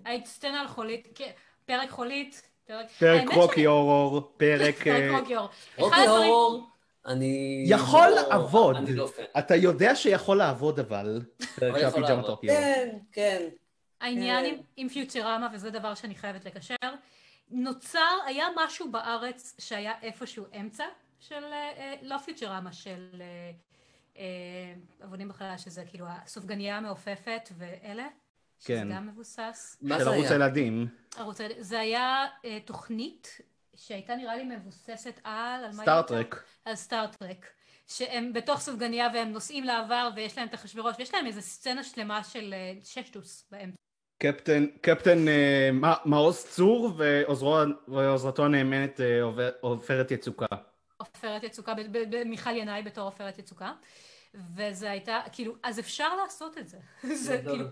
S3: היית סצנה על חולית, כן, פרק חולית, פרק...
S2: פרק
S3: האמת
S2: רוקי אורור, פרק... אה,
S3: פרק רוקיור. אחד
S4: אוקיי,
S3: הדברים...
S4: אור, אני...
S2: יכול
S4: לא,
S2: לעבוד.
S4: אני לא פן.
S2: אתה יודע שיכול לעבוד, אבל... פרק
S4: אבל
S2: של
S4: יכול
S2: הפיג'מות
S4: לעבוד.
S2: רוקי אורור.
S4: כן, כן.
S3: העניין
S4: אה.
S3: עם, עם פיוטרמה, וזה דבר שאני חייבת לקשר, נוצר, היה משהו בארץ שהיה איפשהו אמצע של, אה, אה, לא פיוטרמה, של אה, אה, עבודים בחלל, שזה כאילו הסופגניה המעופפת ואלה, שזה
S2: כן.
S3: גם מבוסס.
S4: מה
S2: של
S4: זה
S2: ערוץ
S4: היה?
S2: הילדים.
S3: ערוץ, הילד- זה היה אה, תוכנית שהייתה נראה לי מבוססת על... על מה היא הייתה?
S2: סטארט-טרק.
S3: על סטארט-טרק, שהם בתוך סופגניה והם נוסעים לעבר ויש להם את אחשוורוש, ויש להם איזו סצנה שלמה של אה, ששטוס באמצע.
S2: קפטן, קפטן אה, מע- מעוז צור ועוזרו, ועוזרתו הנאמנת אה, עובר- עופרת יצוקה.
S3: עופרת יצוקה, ב- ב- ב- מיכל ינאי בתור עופרת יצוקה, וזה הייתה, כאילו, אז אפשר לעשות את זה. זה
S4: גדול.
S3: כאילו,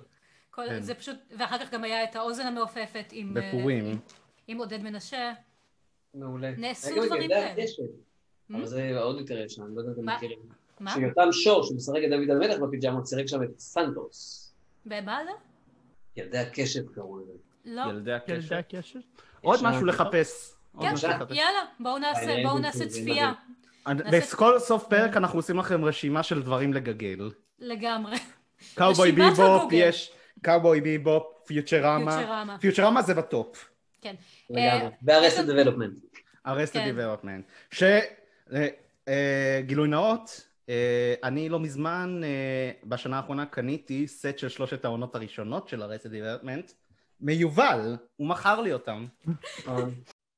S3: כל,
S2: כן.
S3: זה פשוט, ואחר כך גם היה את האוזן המעופפת עם, אה,
S2: בפורים.
S3: עם עודד מנשה.
S4: מעולה.
S3: נעשו
S4: היה גם את
S3: דברים
S4: ילדי
S3: כאלה. Hmm?
S4: הקשת, אבל זה עוד יותר ישן, אני לא יודע אם אתם
S3: מה?
S4: מכירים.
S3: מה?
S4: שיותם שור, שמשחק את דוד המלך בפיג'מות, שיחק שם את סנטוס.
S3: במה זה?
S4: ילדי הקשת קראו לזה.
S3: לא.
S2: ילדי
S1: ילדי
S2: הקשר.
S1: הקשר?
S2: עוד
S4: יש
S2: משהו
S4: שם-
S2: לחפש. עוד
S3: כן,
S2: משהו
S4: בבקשה.
S2: לחפש.
S3: יאללה, בואו נעשה,
S4: אני
S3: בואו
S4: הייתי
S3: נעשה
S4: מבין
S3: צפייה נעשה-
S2: בכל סוף פרק אנחנו עושים לכם רשימה של דברים לגגל.
S3: לגמרי.
S2: קאובוי
S3: רשימת
S2: ביבופ
S3: הגוגל.
S2: יש, קאובוי ביבופ, פיוטרמה.
S3: פיוטרמה.
S2: פיוטרמה זה בטופ.
S3: כן.
S4: לגמרי.
S3: אה,
S4: והרסט דבלופמנט.
S2: ארסטד
S3: כן.
S2: דיבלופמנט. שגילוי אה, נאות, אה, אני לא מזמן, אה, בשנה האחרונה קניתי סט של שלושת העונות הראשונות של ארסטד דיבלופמנט. מיובל, הוא מכר לי אותם.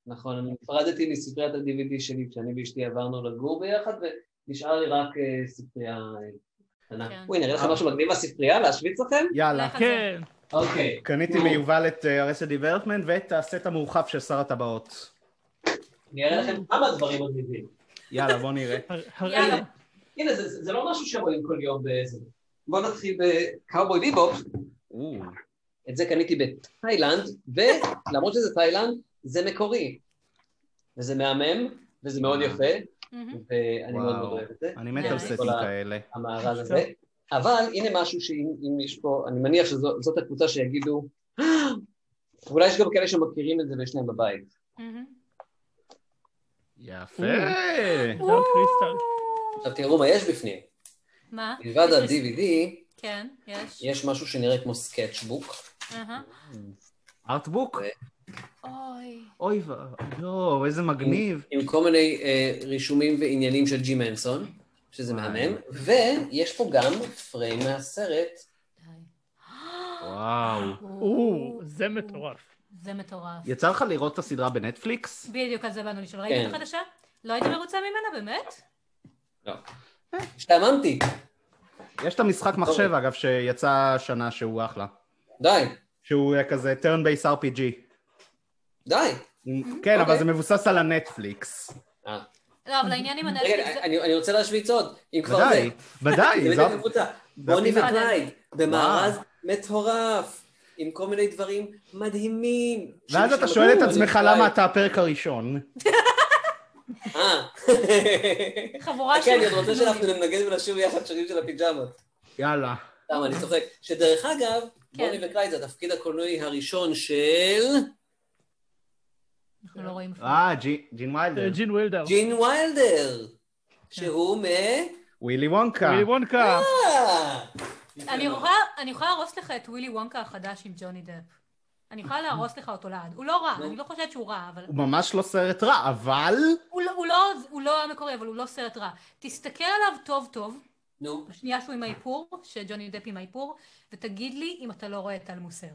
S4: נכון, אני נפרדתי מספריית ה-DVD שלי כשאני ואשתי עברנו לגור ביחד, ונשאר לי רק אה, ספרייה אה,
S3: כן.
S4: קטנה. אוי, נראה לך משהו מגניב מהספרייה? להשוויץ לכם?
S2: יאללה.
S3: לך על זה.
S1: כן.
S4: אוקיי.
S2: קניתי
S4: נו.
S2: מיובל את ארסטד דיבלופמנט ואת הסט המורחב של שר הטבעות.
S4: אני אראה לכם כמה דברים מגניבים.
S2: יאללה, בוא נראה.
S1: הר- הר-
S3: יאללה.
S4: הנה, זה זה לא משהו שרואים כל יום באיזה... בואו נתחיל בקאובוי ביבופ.
S2: או,
S4: את זה קניתי בתאילנד, ולמרות שזה תאילנד, זה מקורי. וזה מהמם, וזה מאוד יפה,
S3: מהמם.
S4: ואני מאוד
S2: וואו.
S4: מאוד אוהב את זה,
S2: אני מת
S3: יאללה.
S2: על סטים
S4: כל ה-
S2: כאלה.
S4: המארז הזה. אבל הנה משהו שאם אם יש פה, אני מניח שזאת הקבוצה שיגידו, "אה!" ואולי יש גם כאלה שמכירים את זה ויש להם בבית.
S3: מהמם.
S2: יפה.
S1: דן קריסטל.
S4: עכשיו תראו מה יש בפנים.
S3: מה?
S4: מלבד
S3: יש לי-
S4: ה-DVD,
S3: כן, יש.
S4: יש משהו שנראה כמו סקצ'בוק.
S3: אהה.
S2: ארטבוק?
S3: אוי.
S2: אוי ואבוי, יואו, איזה מגניב.
S4: עם כל מיני אה, רישומים ועניינים של ג'י מנסון, שזה
S2: וואי.
S4: מהמם, ויש פה גם פריים מהסרט
S3: די.
S2: וואו.
S1: או, זה מטורף.
S3: זה מטורף.
S2: יצא לך לראות את הסדרה בנטפליקס?
S3: בדיוק על זה באנו לשאול. ראית את
S4: כן.
S3: החדשה? לא היית מרוצה ממנה, באמת?
S4: לא. השתעממתי,
S2: יש את המשחק מחשב, אגב, שיצא השנה שהוא אחלה.
S4: די,
S2: שהוא היה כזה turn base RPG.
S4: די.
S2: כן, אבל
S4: אוקיי.
S2: זה מבוסס על הנטפליקס.
S4: אה.
S3: לא, אבל העניין עם הנטפליקס
S4: רגע,
S3: זה...
S4: אני אני רוצה להשוויץ עוד, אם כבר זה.
S2: ודאי, ודאי.
S4: זה
S2: זה-
S4: באמת הקבוצה. בוני
S2: זה-
S4: וקלייד, במארז מטורף, עם כל מיני דברים מדהימים.
S2: ואז אתה
S4: שמשמעו
S2: שואל את
S4: בוני
S2: עצמך
S4: וקלייד.
S2: למה אתה הפרק הראשון.
S4: אה.
S3: חבורה של...
S4: כן, אני עוד רוצה שאנחנו ננגן ונשיר ביחד שירים של הפיג'מות.
S2: יאללה.
S4: סתם, אני צוחק. שדרך אגב,
S3: כן.
S4: בוני וקלייד זה התפקיד הקולנועי הראשון של
S3: אנחנו לא רואים אפילו.
S2: אה, ג'י- ג'ין
S1: אה,
S2: ויילדר.
S1: ג'ין וילדר.
S4: כן. ג'ין ויילדר, שהוא מ...
S2: ווילי וונקה.
S1: וילי וונקה.
S4: אה.
S3: אני יכולה- אני יכולה להרוס לך את ווילי וונקה החדש עם ג'וני דאפ. אני יכולה להרוס לך אותו לעד. הוא לא רע, אני לא חושבת שהוא רע, אבל...
S2: הוא ממש לא סרט רע, אבל...
S3: הוא לא- הוא לא- הוא לא המקורי, אבל הוא לא סרט רע. תסתכל עליו טוב טוב,
S4: נו,
S3: בשנייה שהוא עם האיפור, שג'וני דאפ עם האיפור, ותגיד לי אם אתה לא רואה את טל מוסרי.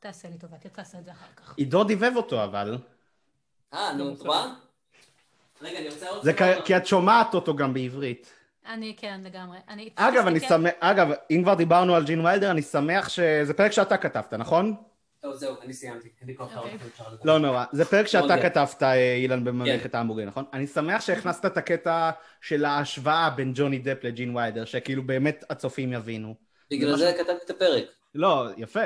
S3: תעשה לי טובה, כי תעשה את זה אחר כך.
S2: עידו דיבב אותו, אבל.
S4: אה, נו, את רואה? רגע, אני רוצה עוד...
S2: זה כ- כי את שומעת אותו גם בעברית.
S3: אני כן, לגמרי. אני...
S2: אגב, אני
S3: תסתכל-
S2: שמח, אגב, אם כבר דיברנו על ג'ין ויילדר, אני שמח שזה פרק שאתה כתבת, נכון?
S4: טוב, זהו, אני סיימתי. אין לי כוח
S3: אוקיי.
S4: לעוד אפשר לדבר.
S2: לא נורא. זה פרק שאתה
S4: לא יודע.
S2: כתבת, אה, אילן, בממלכת
S4: כן.
S2: ההמבורגר, נכון? אני שמח שהכנסת את הקטע של ההשוואה בין ג'וני דפ לג'ין ויידר, שכאילו באמת הצופים יבינו.
S4: בגלל זה כתבתי את הפרק.
S2: לא, יפה.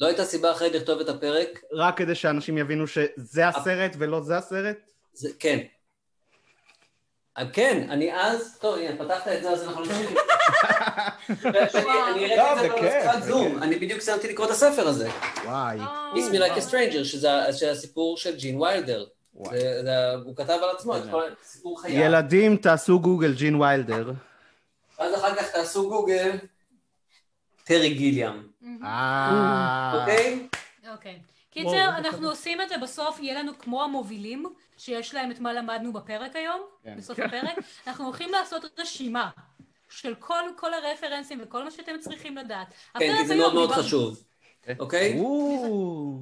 S4: לא הייתה סיבה אחרת לכתוב את הפרק.
S2: רק כדי שאנשים יבינו שזה הסרט ולא זה הסרט?
S4: זה, כן. אה, כן, אני אז, טוב, הנה, פתחת את זה, אז אנחנו נמשיך. אני- אני
S5: לא,
S4: הראיתי את
S5: זה
S4: זה
S5: כיף,
S4: במשחק
S5: זה
S4: זום, אני בדיוק סיימתי לקרוא את הספר הזה.
S2: וואי.
S3: אה.
S4: Kiss Me Like a Stranger, שזה ה- של הסיפור של ג'ין ויילדר.
S5: וואי.
S4: זה- זה- הוא כתב על עצמו את כל סיפור חייו.
S2: ילדים, תעשו גוגל ג'ין ויילדר.
S4: ואז אחר כך תעשו גוגל, טרי גיליאם,
S2: אה...
S4: אוקיי?
S3: אוקיי.
S1: וואו,
S3: קיצר,
S1: איזה
S3: אנחנו עושים את זה בסוף, יהיה לנו כמו המובילים, שיש להם את מה למדנו בפרק היום,
S2: כן.
S3: בסוף הפרק, אנחנו הולכים לעשות רשימה של כל כל הרפרנסים וכל מה שאתם צריכים לדעת.
S4: כן, כי
S3: הפרק
S4: זה
S3: היום
S4: מאוד מאוד
S3: דיבר-
S4: חשוב, אוקיי?
S2: או,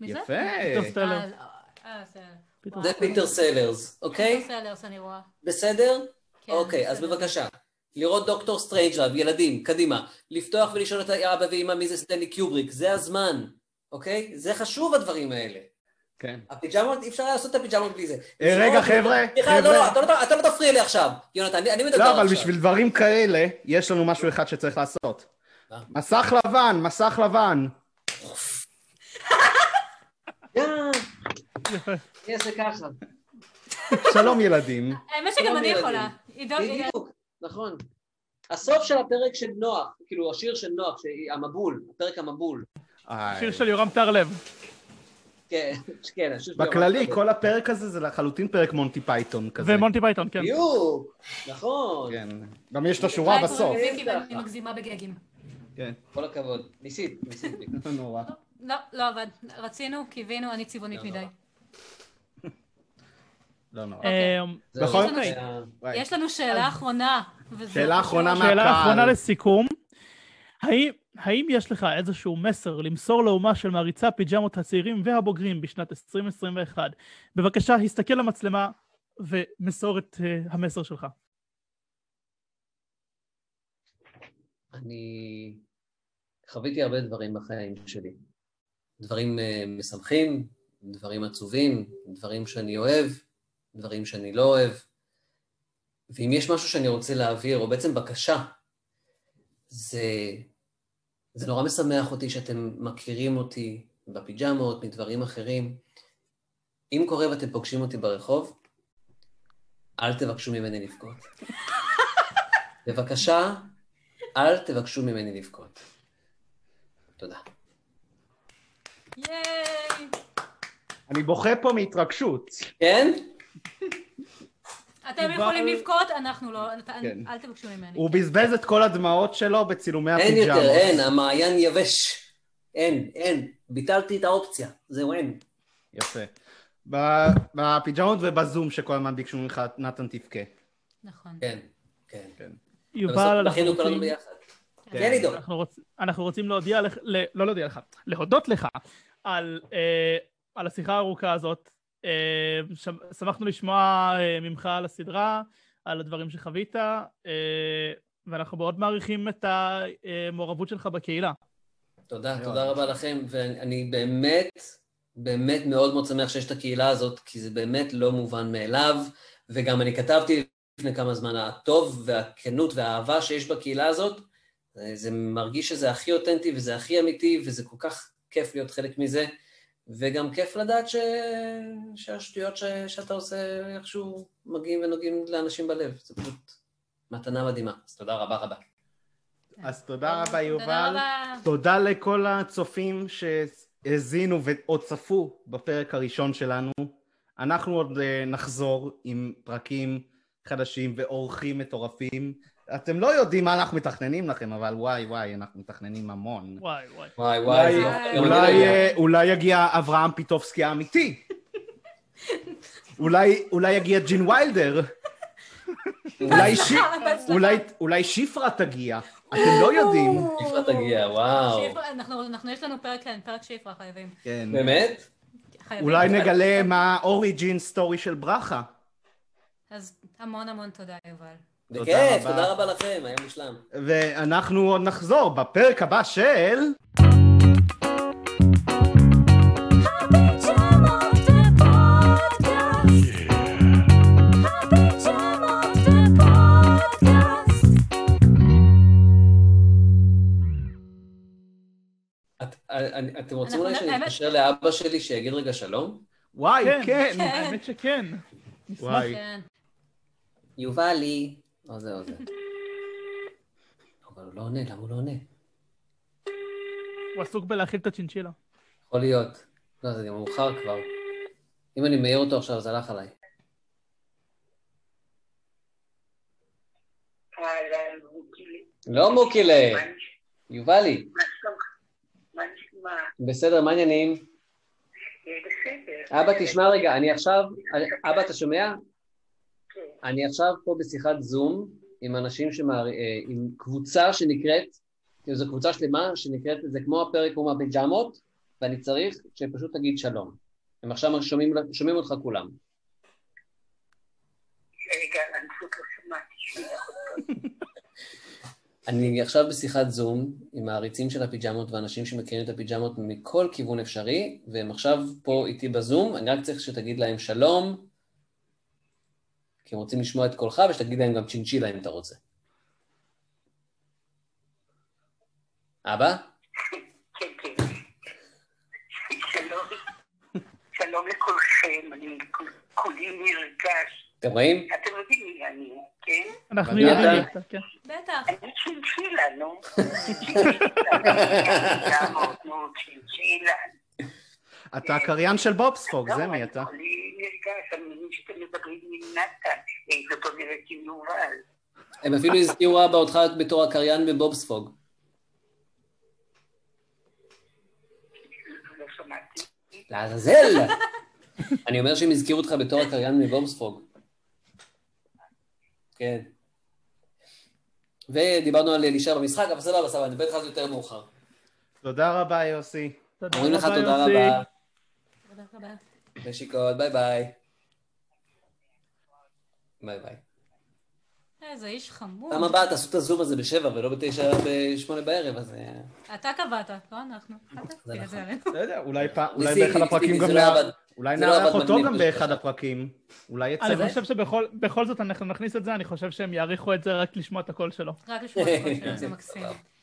S3: מי זה?
S2: יפה.
S1: פיטר סטלר.
S3: אה, אה, בסדר.
S1: פיטר
S4: זה פיטר סלרס,
S3: אוקיי.
S4: אוקיי?
S3: סלרס אני רואה.
S4: בסדר?
S3: כן,
S4: אוקיי, אז
S3: בסדר.
S4: בבקשה. לראות דוקטור סטרנג'לב, ילדים, קדימה. לפתוח ולשאול את אבא ואמא מי זה סטנלי קיובריק, זה הזמן, אוקיי? זה חשוב הדברים האלה.
S2: כן.
S4: הפיג'מות, אי אפשר לעשות את הפיג'מות בלי זה.
S2: אה, רגע,
S4: לראות-
S2: חבר'ה,
S4: סליחה, לא,
S2: חבר'ה.
S4: לא, אתה לא- אתה לא תפריע לי עכשיו. יונתן, אני אני מדבר עכשיו.
S2: לא, אבל בשביל דברים כאלה, יש לנו משהו אחד שצריך לעשות.
S4: מה?
S2: מסך לבן, מסך לבן.
S4: יא, אה, אני אעשה ככה.
S2: שלום ילדים.
S3: האמת שגם
S4: לא
S3: אני
S4: ילדים.
S3: יכולה. עידו,
S4: בדיוק, נכון. הסוף של הפרק של נוח, כאילו השיר של נוח, שהיא- המבול, הפרק המבול. אה,
S2: איי.
S1: שיר של יורם טרלב.
S4: כן, כן, השיר של
S2: בכללי,
S4: יורם.
S2: כל הפרק הזה זה לחלוטין פרק מונטי פייתון כזה.
S1: ומונטי פייתון, כן.
S4: בדיוק, נכון.
S2: כן. גם יש את השורה
S3: ביי,
S2: בסוף.
S3: קוראים לי ויקי ואני מגזימה בגגים.
S2: כן.
S4: כל הכבוד. ניסית, ניסית.
S2: נורא.
S3: לא, לא עבד. רצינו, קיווינו, אני צבעונית
S4: לא
S3: מדי.
S2: לא נורא.
S3: אוקיי.
S1: אמ,
S4: זהו,
S2: בכל
S4: זה
S2: מקרה.
S4: היה-
S2: וואי.
S3: יש לנו שאלה אחרונה. וזה-
S2: שאלה אחרונה מה-
S1: שאלה
S2: מהקהל.
S1: אחרונה לסיכום. האם- האם יש לך איזשהו מסר למסור לאומה של מעריצי הפיג'מות הצעירים והבוגרים בשנת 2021? בבקשה, הסתכל למצלמה ומסור את אה, המסר שלך.
S4: אני חוויתי הרבה דברים בחיים שלי. דברים אה, משמחים, דברים עצובים, דברים שאני אוהב, דברים שאני לא אוהב. ואם יש משהו שאני רוצה להעביר, או בעצם בקשה, זה, זה נורא משמח אותי שאתם מכירים אותי בפיג'מות, מדברים אחרים. אם קורה ואתם פוגשים אותי ברחוב, אל תבקשו ממני לבכות. בבקשה, אל תבקשו ממני לבכות. תודה.
S3: ייי!
S2: אני בוכה פה מהתרגשות.
S4: כן?
S3: אתם יכולים לבכות, אנחנו לא. אל-
S2: כן.
S3: אל תבקשו ממני.
S2: הוא בזבז את כל הדמעות שלו בצילומי
S4: אין
S2: הפיג'מות.
S4: יותר, אין, אה. המעיין יבש. אין, אין. ביטלתי את האופציה. זהו, אין.
S2: יפה. ב- בפיג'מות ובזום שכל הזמן ביקשו ממך, נתן תבכה.
S3: נכון.
S4: כן, כן.
S1: יובל,
S4: בסוף
S1: אנחנו
S4: בכינו כולנו
S1: רוצים-
S4: ביחד.
S3: כן.
S4: כן, עידו.
S1: אנחנו רוצ- אנחנו רוצים להודיע לך, ל- לא להודיע לך, להודות לך על אה, על השיחה הארוכה הזאת. אה, שמ- שמחנו לשמוע אה, ממך על הסדרה, על הדברים שחווית, אה, ואנחנו מאוד מעריכים את המעורבות שלך בקהילה.
S4: תודה,
S2: מאוד.
S4: תודה רבה לכם, ואני באמת, באמת מאוד מאוד שמח שיש את הקהילה הזאת, כי זה באמת לא מובן מאליו, וגם אני כתבתי לפני כמה זמן, הטוב והכנות והאהבה שיש בקהילה הזאת, זה- זה מרגיש שזה הכי אותנטי וזה הכי אמיתי, וזה כל כך כיף להיות חלק מזה, וגם כיף לדעת ש... שהשטויות ש... שאתה עושה איכשהו מגיעים ונוגעים לאנשים בלב, זה פשוט מתנה מדהימה, אז תודה רבה רבה.
S2: אז תודה רבה,
S3: כן. תודה
S2: יובל.
S3: רבה.
S2: תודה לכל הצופים שהאזינו ועוד צפו בפרק הראשון שלנו. אנחנו עוד אה, נחזור עם פרקים חדשים ואורחים מטורפים. אתם לא יודעים מה אנחנו מתכננים לכם, אבל וואי וואי, אנחנו מתכננים המון.
S1: וואי וואי.
S4: וואי וואי,
S2: אולי-
S4: זה- גם אני לא
S2: אולי,
S4: יודע.
S2: אה, אולי יגיע אברהם פיטובסקי האמיתי. אולי, אולי יגיע ג'ין ויילדר.
S4: לא-
S2: אולי, ש...
S3: בהצלחה.
S2: אולי, אולי שיפרה תגיע. אתם לא יודעים.
S4: שפרה תגיע, וואו.
S3: שיפרה, אנחנו, אנחנו- יש לנו פרק, כן, פרק שפרה, חייבים.
S2: כן.
S4: באמת?
S3: חייבים.
S2: אולי נגלה מה אוריג'ין סטורי של ברכה.
S3: אז המון המון תודה, יובל.
S2: תודה
S4: בכיף,
S2: רבה.
S4: תודה רבה לכם, היה מושלם.
S2: ואנחנו עוד נחזור בפרק הבא של...
S4: אני- אתם רוצים אולי
S3: אנחנו-
S4: שאני
S3: האמת-
S4: אתקשר לאבא שלי שיגיד רגע שלום?
S2: וואי,
S1: כן.
S2: כן.
S1: האמת שכן.
S2: וואי.
S3: כן.
S4: יובלי. או זה או זה. אבל הוא לא עונה, למה הוא לא עונה?
S1: הוא עסוק בלהאכיל את הצ'ינצ'ילה.
S4: יכול להיות. לא, זה גם מאוחר כבר. אם אני מעיר אותו עכשיו, זה הלך עליי.
S7: אהלן, רוקילי.
S4: לא מוקילה, יובלי.
S7: מה שלומך? מה נשמע?
S4: בסדר, מה העניינים?
S7: אה, בסדר.
S4: אבא, תשמע רגע, אני עכשיו... אבא, אתה שומע?
S7: כן.
S4: אני עכשיו פה בשיחת זום עם אנשים שמער... אה, עם קבוצה שנקראת, כאילו זו קבוצה שלמה שנקראת, זה כמו הפרק הוא מהפיג'מות, ואני צריך שפשוט תגיד שלום. הם עכשיו שומעים, שומעים אותך כולם.
S7: רגע, אני פשוט לא שמעתי שנייה.
S4: אני עכשיו בשיחת זום עם העריצים של הפיג'מות ואנשים שמכירים את הפיג'מות מכל כיוון אפשרי, והם עכשיו פה איתי בזום, אני רק צריך שתגיד להם שלום, כי הם רוצים לשמוע את קולך, ושתגיד להם גם צ'ינצ'ילה אם אתה רוצה. אבא?
S7: כן, כן. שלום. שלום לכולכם, אני כול- כולי נרגש.
S4: אתם רואים?
S7: אתם יודעים מי אני, כן?
S1: אנחנו
S4: אני
S1: יודעים
S4: יודע.
S1: מי אתה, כן.
S3: בטח.
S7: אני צ'ינצ'ילה, נו. צ'ינצ'ילה, נו, צ'ינצ'ילה.
S2: אתה הקריין של בובספוג, זה מי אתה.
S7: אני נרגש, אני מבין שאתם מדברים עם נתן, אה, זאת אומרת עם יובל.
S4: הם אפילו הזכירו אבא אותך בתור הקריין בבובספוג.
S7: לא שמעתי.
S4: לעזאזל! אני אומר שהם הזכירו אותך בתור הקריין מבובספוג. כן. ודיברנו על אלישע במשחק, אבל סבבה, סבבה, נדבר איתך על זה יותר מאוחר.
S2: תודה רבה, יוסי.
S1: תודה
S4: אומרים לך
S1: רבה,
S4: תודה
S1: יוסי.
S4: רבה,
S3: תודה רבה.
S4: נשיקות, ביי ביי. ביי ביי.
S3: איזה איש חמוד.
S4: פעם הבאה תעשו את הזום הזה בשבע ולא בתשע, בשמונה בערב, אז... אה,
S3: אתה קבעת, לא אנחנו. אתה תפיל את זה עלינו.
S2: לא יודע, אולי פעם- אולי
S4: ניסיתי,
S2: באחד הפרקים
S4: ניסיתי,
S2: גם
S4: זה לא
S2: נארח-
S4: עבד.
S2: אולי
S4: זה לא
S2: נארח
S4: עבד
S2: אותו
S4: מגניב,
S2: גם
S4: פשוט.
S2: באחד הפרקים. אולי יצא.
S1: אני חושב שבכל בכל זאת אנחנו נכניס את זה, אני חושב שהם יעריכו את זה רק לשמוע את הקול שלו.
S3: רק לשמוע את הכל שלו, זה מקסים.